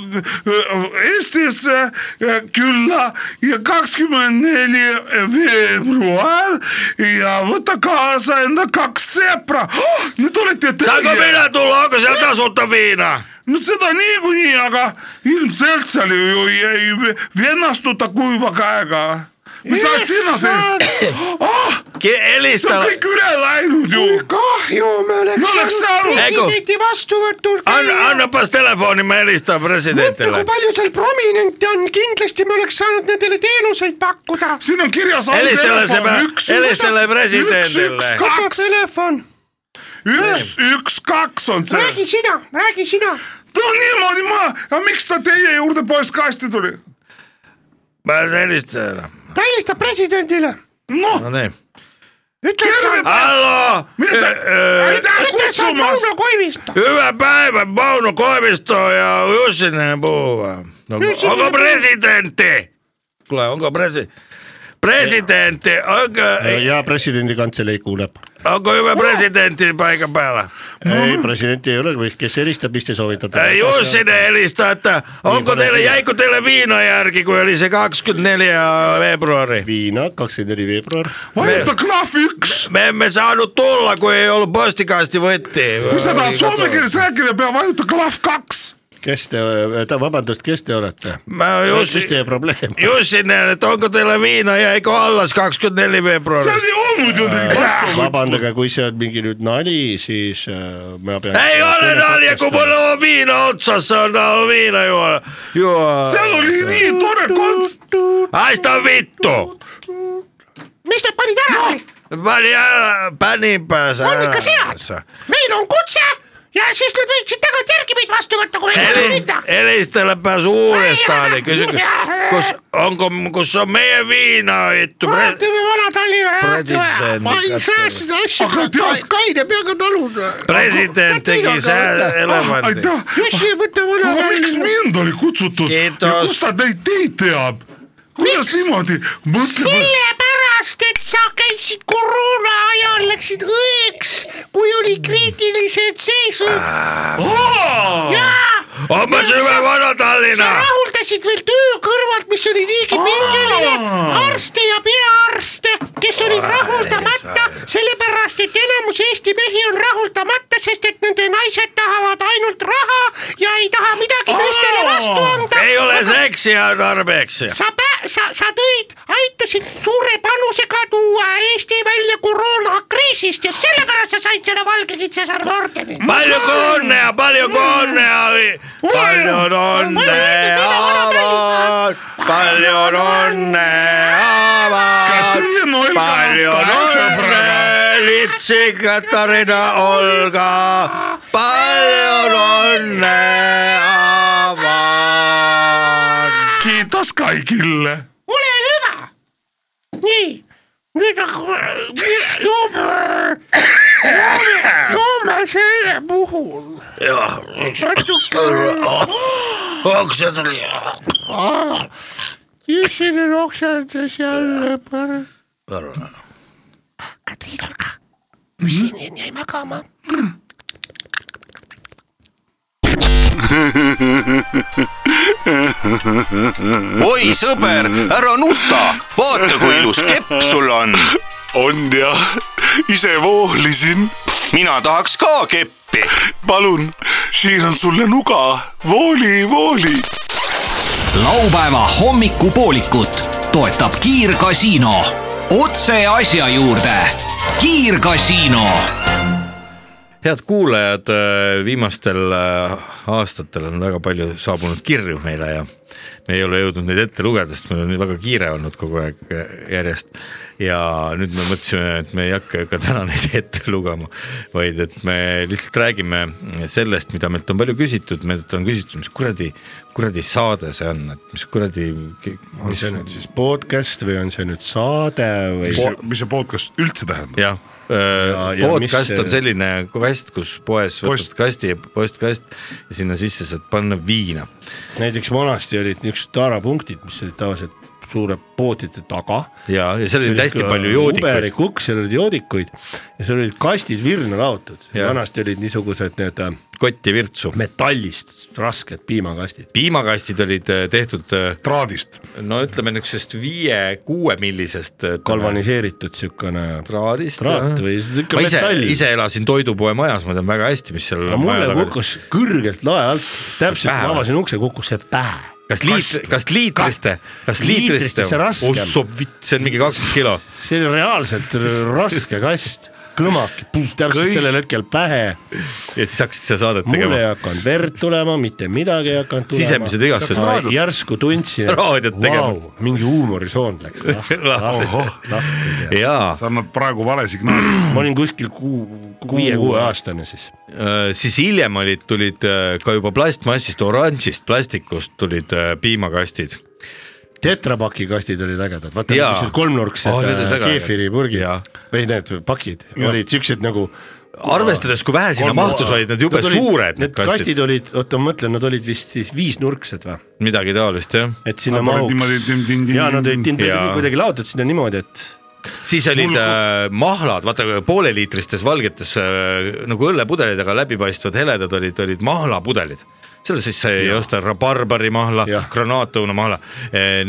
Eestisse äh, külla ja kakskümmend neli veebruar ja võta kaasa enda kaks sõpra oh, . Need olete saanko teie . minä tulla , onko siellä tasuta viinaa ? no seda niikuinii , aga ilmselt seal ju, ju ei ve- vennastuta kuiva käega . mis sa sina teed ? ah , see on Elista , kõik üle läinud ju . kahju , me Me oleks oleks saanud- presidendi vastuvõtul anna , annapas telefoni , mä elistan presidentille kui . palju seal prominente on , kindlasti me oleks saanud nendele teenuseid pakkuda . siin on kirjas . helistele selle , helistele presidendile . kaks , telefon , üks , üks , kaks on see . räägi sina , räägi sina . no niimoodi ma , aga miks ta teie juurde postkasti tuli ? Mä helistelen . ta helistab presidendile , noh , No niin . ütle , et sa , Hallo , mida , ütle , aitäh et sa oled kutsumast Mauno . Koivisto . hyvää päivää Mauno Koivisto ja Jussinen puhuva. No, Jussinen onko puhuu. presidentti? Kuule, onko presi... Presidentti, onko, No ja Äh, presidendi kantselei kuuleb . onko hyvä presidentti paikan päällä? ei , presidenti ei ole , kes helistab , mis te soovitate ? Äh, Jussinen elistää, että onko Niin, teille, kyllä. jäikö teille viinajärki, kun oli se 24 februari? viina , kakskümmend neli veebruar . vajuta klahv üks , Me emme saanut tulla, kun ei ollut Niin postikasti võtti. kui sa tahad soome keeles rääkida , pea vajuta klahv kaks . kes te , vabandust , kes te olete ? Mä No, oon mis Jussi, siis- teie probleem ? Jussinen, että onko teillä viina ja eikö allas 24 februari? seal ei olnud ju neid vastu . vabandage , kui see on mingi nüüd nali , siis äh, ma pean . Ei ole nalja, kun mulla on viina otsassa, on on viina juo. juo. seal oli nii tore konts- , Haista vittu! mis nad panid ära või ? Pani ära, panin päässä. on ikka ääressä. sead , meil on kutse ja siis nad võiksid tagant järgi meid vastu võtta , kui ei saa Eli, minna . elistelepäs uudestaan, niin kysykö, kus, onko, kun se on meidän viinaa vittu. Pre- vaatame Vana-Tallinna Presidendi ma ei saa seda Aga asja tead- , kaine peaga taluda . president teki sää elefantin. aitäh , Jussi , võta aga miks Vana-Tallinna . mind oli kutsutud Kiitos. ja kust ta neid teid teab ? kuidas niimoodi , mõtle , sellepärast , et sa käisid koroona ajal , läksid õeks , kui oli kriitilised seisud ja On mä syvä vana sa Tallinna! rahuldasid veel töö kõrvalt , mis oli niigi pingeline , arste ja peaarste , kes olid rahuldamata , sellepärast et enamus Eesti mehi on rahuldamata , sest et nende naised tahavad ainult raha ja ei taha midagi meestele vastu anda . Ei ole seksiä tarpeeksi. sa pä- , sa , sa tõid , aitasid suure panusega tuua Eesti välja koroonakriisist ja sellepärast sa said selle valge kitsesarve ordeni . Paljonko onnea, paljonko onnea, vi- paljon Niin. onnea vaan, paljon onnea vaan, Katriin Olga, paljon onnea, litsi Katarina Olga, paljon onnea vaan. kiitas kõigile . ole hüva . nii , nüüd eh, aga- joome , joome , joome selle puhul natuke , Onks se tuli? Oh, issine oksendas jälle pärast . Katriin Olga , sinin jäi magama oi sõber , ära nuta , vaata kui ilus kepp sul on . on jah , ise voolisin , mina tahaks ka keppi . palun , siin on sulle nuga , vooli , vooli . laupäeva hommikupoolikut toetab Kiirgasiino . otse asja juurde . kiirgasiino . head kuulajad , viimastel äh, aastatel on väga palju saabunud kirju meile ja me ei ole jõudnud neid ette lugeda , sest meil on nii väga kiire olnud kogu aeg äh, järjest . ja nüüd me mõtlesime , et me ei hakka ka täna neid ette lugema , vaid et me lihtsalt räägime sellest , mida meilt on palju küsitud , meilt on küsitud , mis kuradi , kuradi saade see on , et mis kuradi . on see nüüd siis podcast või on see nüüd saade või ? mis see podcast üldse tähendab ? jah , ja podcast mis- on selline kast , kus poes Post. võtad kasti ja postkast ja sinna sisse saad panna viina . näiteks vanasti olid niisugused taarapunktid , mis olid tavaliselt suure pootide taga . ja , ja seal oli hästi palju joodikuid . kuberikuks , seal olid joodikuid ja seal olid kastid virna laotud . Jah. vanasti olid niisugused need äh, kotti virtsu . metallist rasked piimakastid . piimakastid olid äh, tehtud äh, traadist , no ütleme niisugusest viie-kuue millisest . äh, galvaniseeritud siukene traadist . traat või siuke ma ise , metall . ise elasin toidupoe majas , ma tean väga hästi , mis seal . aga mulle kukkus kõrgelt lae alt , täpselt , ma avasin ukse , kukkus see pähe . kas liit- , kas liitriste , kas liitriste Liitriste see ? raskem. vitt , see on mingi kakskümmend kilo . see oli reaalselt r- raske kast , kõmaki , täpselt Kõik- sellel hetkel pähe . ja siis hakkasid seda saadet mul tegema ei . hakanud verd tulema , mitte midagi ei hakanud tulema . Sisemised vigastused. Raadiot- järsku tundsin , raadiot et vau tegema. , mingi huumorisoon läks lahti , Lahti. lahti . jaa , sa annad praegu vale signaali . ma olin kuskil kuu , viie-kuue aastane siis . Äh, siis hiljem olid , tulid äh, ka juba plastmassist , oranžist plastikust tulid äh, piimakastid . tetrapaki kastid olid ägedad , vaata Jaa. niisugused kolmnurksed Oh, need olid oh, väga keefiripurgid Jaa. või need pakid olid siuksed nagu . Arvestades, kui vähe sinna mahtus, olid need jube suured, need Need kastid, kastid kastid olid , oota ma mõtlen , nad olid vist siis viisnurksed või , midagi taolist jah . et sinna Nad olid mahuks niimoodi tin-tin-tin-tin. . ja nad olid tin- Jaa. kuidagi laotud sinna niimoodi , et siis olid Mul- äh, mahlad , vaata pooleliitristes valgetes äh, nagu õllepudelid , aga läbipaistvad heledad olid , olid mahlapudelid . selle siis sai osta rabarbari mahla Jah. , granaatõunamahla .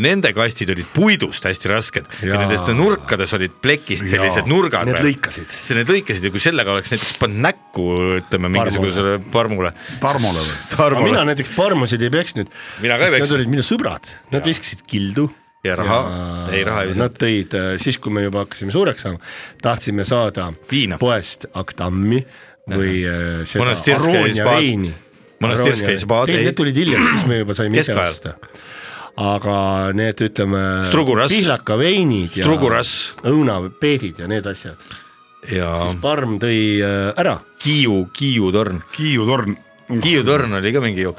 Nende kastid olid puidust hästi rasked ja, ja Jaa. nendest nurkades olid plekist sellised ja. Jaa. nurgad . Need lõikasid. siis need lõikasid ja kui sellega oleks näiteks pannud näkku , ütleme mingisugusele parmule . Tarmole või ? aga Tarmule mina näiteks parmusid ei peksnud . Mina ka ei Nad peksnud. olid minu sõbrad , nad viskasid kildu ja raha , ei raha ei Nad visanud . tõid äh, siis , kui me juba hakkasime suureks saama , tahtsime saada Viina. poest Aktammi või äh, seda Monastirskaya Aroonia spaad- veini . Monastirskaya spaad- ei , need tulid hiljem , siis me juba saime ise Keskajal. osta . aga need , ütleme Strugurass. pihlakaveinid ja Strugurass. õunapeedid ja need asjad , ja siis Parm tõi äh, ära . Kiiu , Kiiu torn , Kiiu torn . Kiiu torn oli ka mingi jook .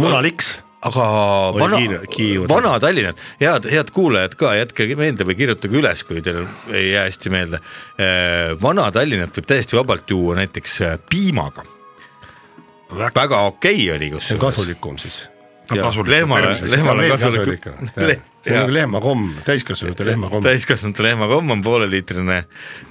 munaliks , aga Oli vana Kiiu- , Kiiu torn. Vana-Tallinna , head , head kuulajad ka , jätke meelde või kirjutage üles , kui teil ei jää hästi meelde . Vana-Tallinnat võib täiesti vabalt juua näiteks eh, piimaga . väga okei oli see kusjuures . on kasulikum siis . kasulik. lehmale , lehmale kasulikum . see on nagu lehmakomm , täiskasvanute lehmakomm . täiskasvanute lehmakomm on pooleliitrine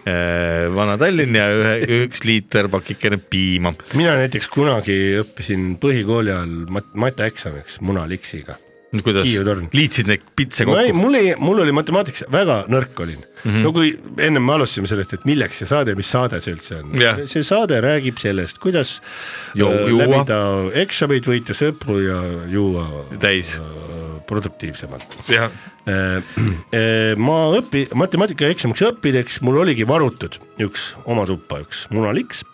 eh, Vana-Tallinn ja ühe , üks liiter pakikene piima . mina näiteks kunagi õppisin põhikooli ajal mat- , mataeksamiks munaliksiga . kuidas Kiiu torn. liitsid neid pitse no kokku ? ei , Mhm. mul ei , mul oli matemaatikas väga nõrk olin mm . -hmm. no kui ennem me alustasime sellest , et milleks see saade , mis saade see üldse on Jah. see saade räägib sellest , kuidas Jou- äh, juua. läbida eksamid , võita sõpru ja juua täis , äh, produktiivsemalt . jah Äh, ma õpi- , matemaatikaeksamiks õppideks mul oligi varutud üks oma tuppa , üks munaliks .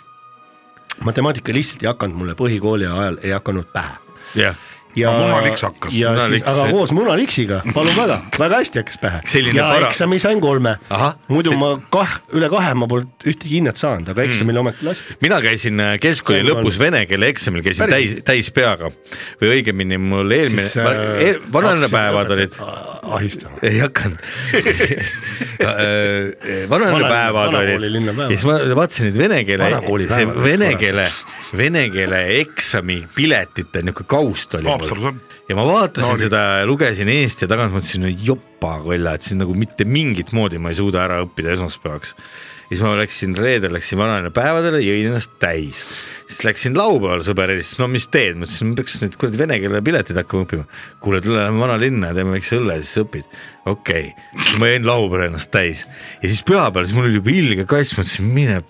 matemaatika lihtsalt ei hakanud mulle põhikooli ajal ei hakanud pähe . jah , ja Aga munaliks hakkas. ja Munaliks, siis , aga jah. koos munaliksiga , palun väga , väga hästi hakkas pähe . Selline ja para- eksami sain kolme Ahah, . muidu see- see... ma kah , üle kahe ma polnud ühtegi hinnet saanud , aga eksamile mm. ometi lasti . mina käisin äh, keskkooli See on lõpus vene keele eksamil , käisin täis , täis peaga või õigemini mul eelmine , vananepäevad er-, olid , äh, ahistama . ei hakanud . vananepäevad Vanakooli olid ja linnapäevad. siis ma vaatasin neid vene keele Vanakooli , see päevad olid vene korras. keele , vene keele eksami piletite niuke kaust oli mul Haapsalus on . ja ma vaatasin No no, nii. seda , lugesin eest ja tagant mõtlesin , no jopakolla , et siin nagu mitte mingit moodi ma ei suuda ära õppida esmaspäevaks . ja siis ma läksin reedel , läksin vananepäevadele , jõin ennast täis . siis läksin laupäeval , sõber helistas , no mis teed , ma ütlesin , ma peaks nüüd kuradi vene keele piletid hakkama õppima . kuule , tule lähme vanalinna ja teeme väikse õlle , siis õpid . okei okay. , ma jõin laupäeval ennast täis ja siis pühapäeval , siis mul oli juba ilge kass , ma ütlesin , mine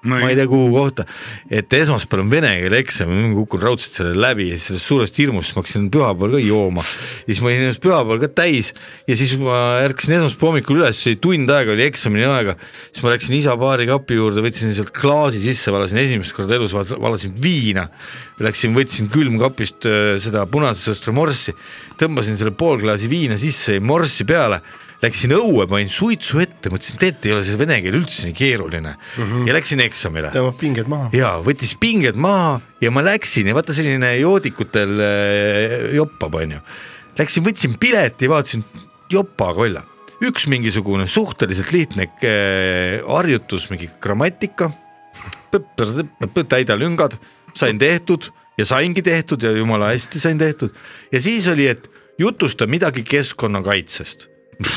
ma ei tea , kuhu kohta , et esmaspäeval on vene keele eksam , ma kukun raudselt selle läbi ja siis sellest suurest hirmust ma hakkasin pühapäeval ka jooma . ja siis ma olin ennast pühapäeval ka täis ja siis ma ärkasin esmaspäeva hommikul üles , tund aega oli eksamini aega , siis ma läksin isa baarikapi juurde , võtsin sealt klaasi sisse , valasin esimest korda elus , valasin viina . Läksin , võtsin külmkapist äh, seda punase sõstra morssi , tõmbasin selle pool klaasi viina sisse ja morssi peale läksin õue , panin suitsu ette , mõtlesin , et tegelikult ei ole see vene keel üldse nii keeruline mm -hmm. ja läksin eksamile . tõmbab pinged maha . ja võttis pinged maha ja ma läksin ja vaata selline joodikutel äh, joppab , onju . Läksin , võtsin pileti , vaatasin jopakolla , üks mingisugune suhteliselt lihtne äh, harjutus , mingi grammatika , täida lüngad , sain tehtud ja saingi tehtud ja jumala hästi sain tehtud ja siis oli , et jutusta midagi keskkonnakaitsest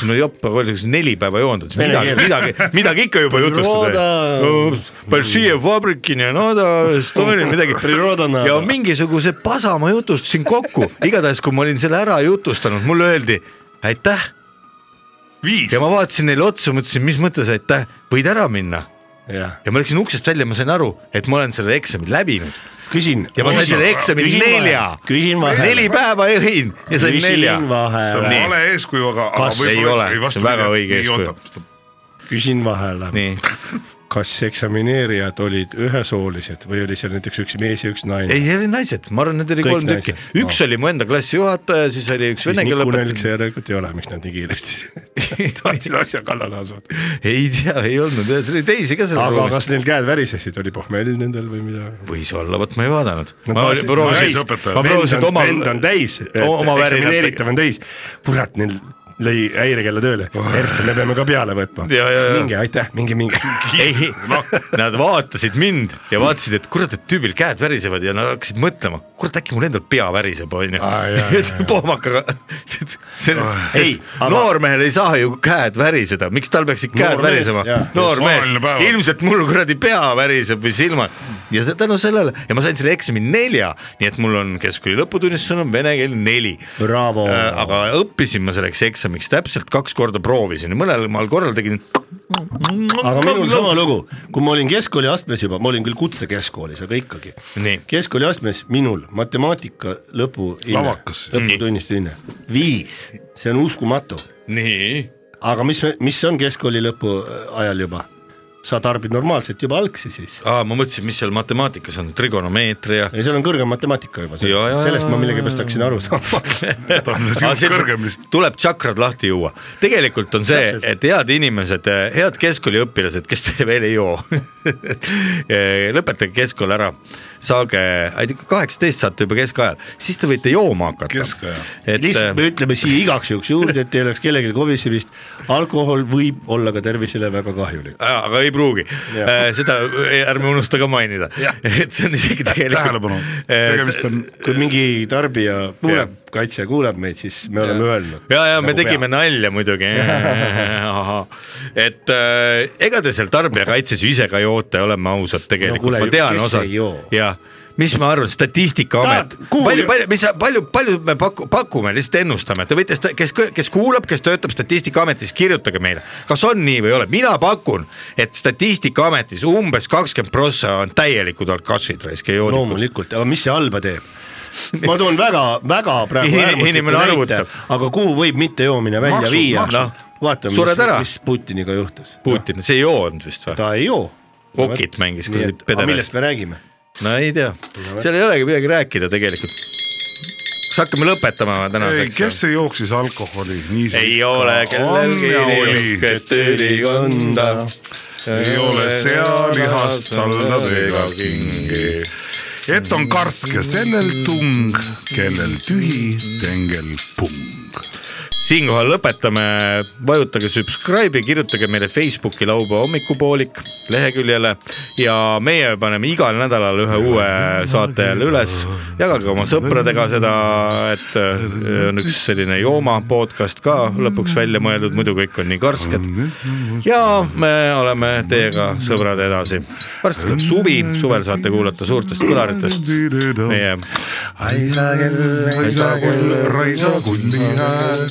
no jopp , aga oli neli päeva joonud , et Vene midagi , keel. midagi , midagi ikka juba jutustada Priroda. . Большие фабрики , Nenada , Estonia , midagi . Priroda nada. ja mingisuguse pasa ma jutustasin kokku , igatahes kui ma olin selle ära jutustanud , mulle öeldi aitäh . ja ma vaatasin neile otsa , mõtlesin , mis mõttes aitäh , võid ära minna . jah , ja ma läksin uksest välja , ma sain aru , et ma olen selle eksami läbinud . küsin . ja ma sain selle eksami nelja . küsin vahele . neli päeva jõin ja sain Küsin nelja . vahele. see on Nii. vale eeskuju , aga , aga Kas- ei võib-olla ole , see on väga õige eeskuju .. küsin vahele . nii . kas eksamineerijad olid ühesoolised või oli seal näiteks üks mees ja üks naine ? ei , need olid naised , ma arvan , need oli Kõik kolm tükki naised. , üks oli mu enda klassi juhataja , siis oli üks siis vene keele Nikunelik see õpetaja . järelikult ei ole , miks nad nii kiiresti tahtsid asja kallale asuda . ei tea , ei olnud , seal oli teisi ka seal aga ruumis . kas neil käed värisesid , oli pohmell nendel või midagi ? võis olla , vot ma ei vaadanud . Nad ma vaatasid, proovisin täis. , ma proovisin vend on- oma . vend on täis , oma värinatega . eksamineeritav on täis . kurat , neil lõi häirekella tööle , Ertsen , me peame ka peale võtma . Oh. Ja, ja, ja. minge , aitäh , minge , minge . ei , noh. nad vaatasid mind ja vaatasid , et kurat , et tüübil käed värisevad ja nad hakkasid mõtlema , kurat , äkki mul endal pea väriseb , onju Aa, jaa, jaa, . jaa. pohmakaga , sest Ei, aga- noormehel ei saa ju käed väriseda , miks tal peaksid käed Noor mees, värisema jaa. , noor mees Maailma päeval. , ilmselt mul kuradi pea väriseb või silmad ja see tänu sellele ja ma sain selle eksami nelja , nii et mul on keskkooli lõputunnis sõnum vene keel neli Bravo . Äh, aga õppisin ma selleks eksamiks täpselt kaks korda proovisin ja mõnel maal korral tegin . aga minul sama lugu , kui ma olin keskkooli astmes juba , ma olin küll kutsekeskkoolis , aga ikkagi . nii , keskkooli astmes minul matemaatika lõpu , Lavakas. lõputunnist hinne viis , see on uskumatu . nii , aga mis , mis on keskkooli lõpu äh, ajal juba ? sa tarbid normaalselt juba algsi siis . aa , ma mõtlesin , mis seal matemaatikas on , trigonomeetria . ei , seal on kõrgem matemaatika juba , Jaa, jaa, sellest ma jaa, millegipärast jaa. hakkasin aru saama . kõrgem vist . tuleb tšakrad lahti juua , tegelikult on see , Täpselt. et head inimesed , head keskkooliõpilased , kes te veel ei joo , lõpetage keskkool ära , saage , kaheksateist saate juba keskajal , siis te võite jooma hakata . Keskaja. et eh, äh, lihtsalt me ütleme siia igaks juhuks juurde , et ei oleks kellelgi komisjonist , alkohol võib olla ka tervisele väga kahjulik . Jaa, aga ei pruugi Äh, Jah. , seda ärme unusta ka mainida , et see on isegi tegelikult . tähelepanu , tegemist on . kui mingi tarbija kuuleb , kaitsja kuuleb meid , siis me oleme öelnud . Nagu ja , ja me tegime . nalja muidugi , et äh, ega te seal tarbijakaitses ju ise ka ei oota , oleme ausad tegelikult kuule, no, , ma tean kes osa ei joo? ja mis ma arvan , Statistikaamet Ta- , kuul- palju , palju , mis , palju , palju me paku- , pakume , lihtsalt ennustame , te võite , kes , kes kuulab , kes töötab Statistikaametis , kirjutage meile , kas on nii või ei ole , mina pakun , et Statistikaametis umbes kakskümmend prossa on täielikud alkassid raisk , ei joodikud . loomulikult , aga mis see halba teeb ? ma toon väga-väga praegu Inimene äärmusliku näite arvutab. , aga kuhu võib mittejoomine välja Maksud, viia , maksud. noh , vaatame , Sured mis ära. , mis Putiniga juhtus . Putin , see ei joonud vist või ? ta ei joo . Kokit mängis kuradi aga pederast. millest me räägime ? no ei tea , seal ei olegi midagi rääkida tegelikult . kas hakkame lõpetama või ei , tänaseks ? kes see jooksis alkoholi niiviisi ? ei ole kellelgi kellelgi . nihukest ülikonda . ei ole sealihast tallad ega kingi . et on karske sellel tung , kellel tühi tengel pung . siinkohal lõpetame , vajutage subscribe'i , kirjutage meile Facebooki laupäeva hommikupoolik leheküljele ja meie paneme igal nädalal ühe uue saate jälle üles . jagage oma sõpradega seda , et äh, on üks selline jooma podcast ka lõpuks välja mõeldud , muidu kõik on nii karsked . ja me oleme teiega sõbrad edasi . varsti tuleb suvi , suvel saate kuulata suurtest kõlaritest meie raisakull , raisakulli hääl ,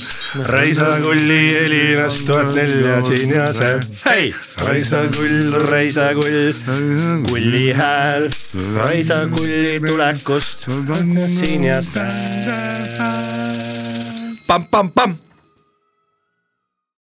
raisakulli helinas tuhat nelja siin ja see , hei , raisakull , raisakull , kulli hääl , raisakulli tulekust siin ja see . pamm-pamm-pamm .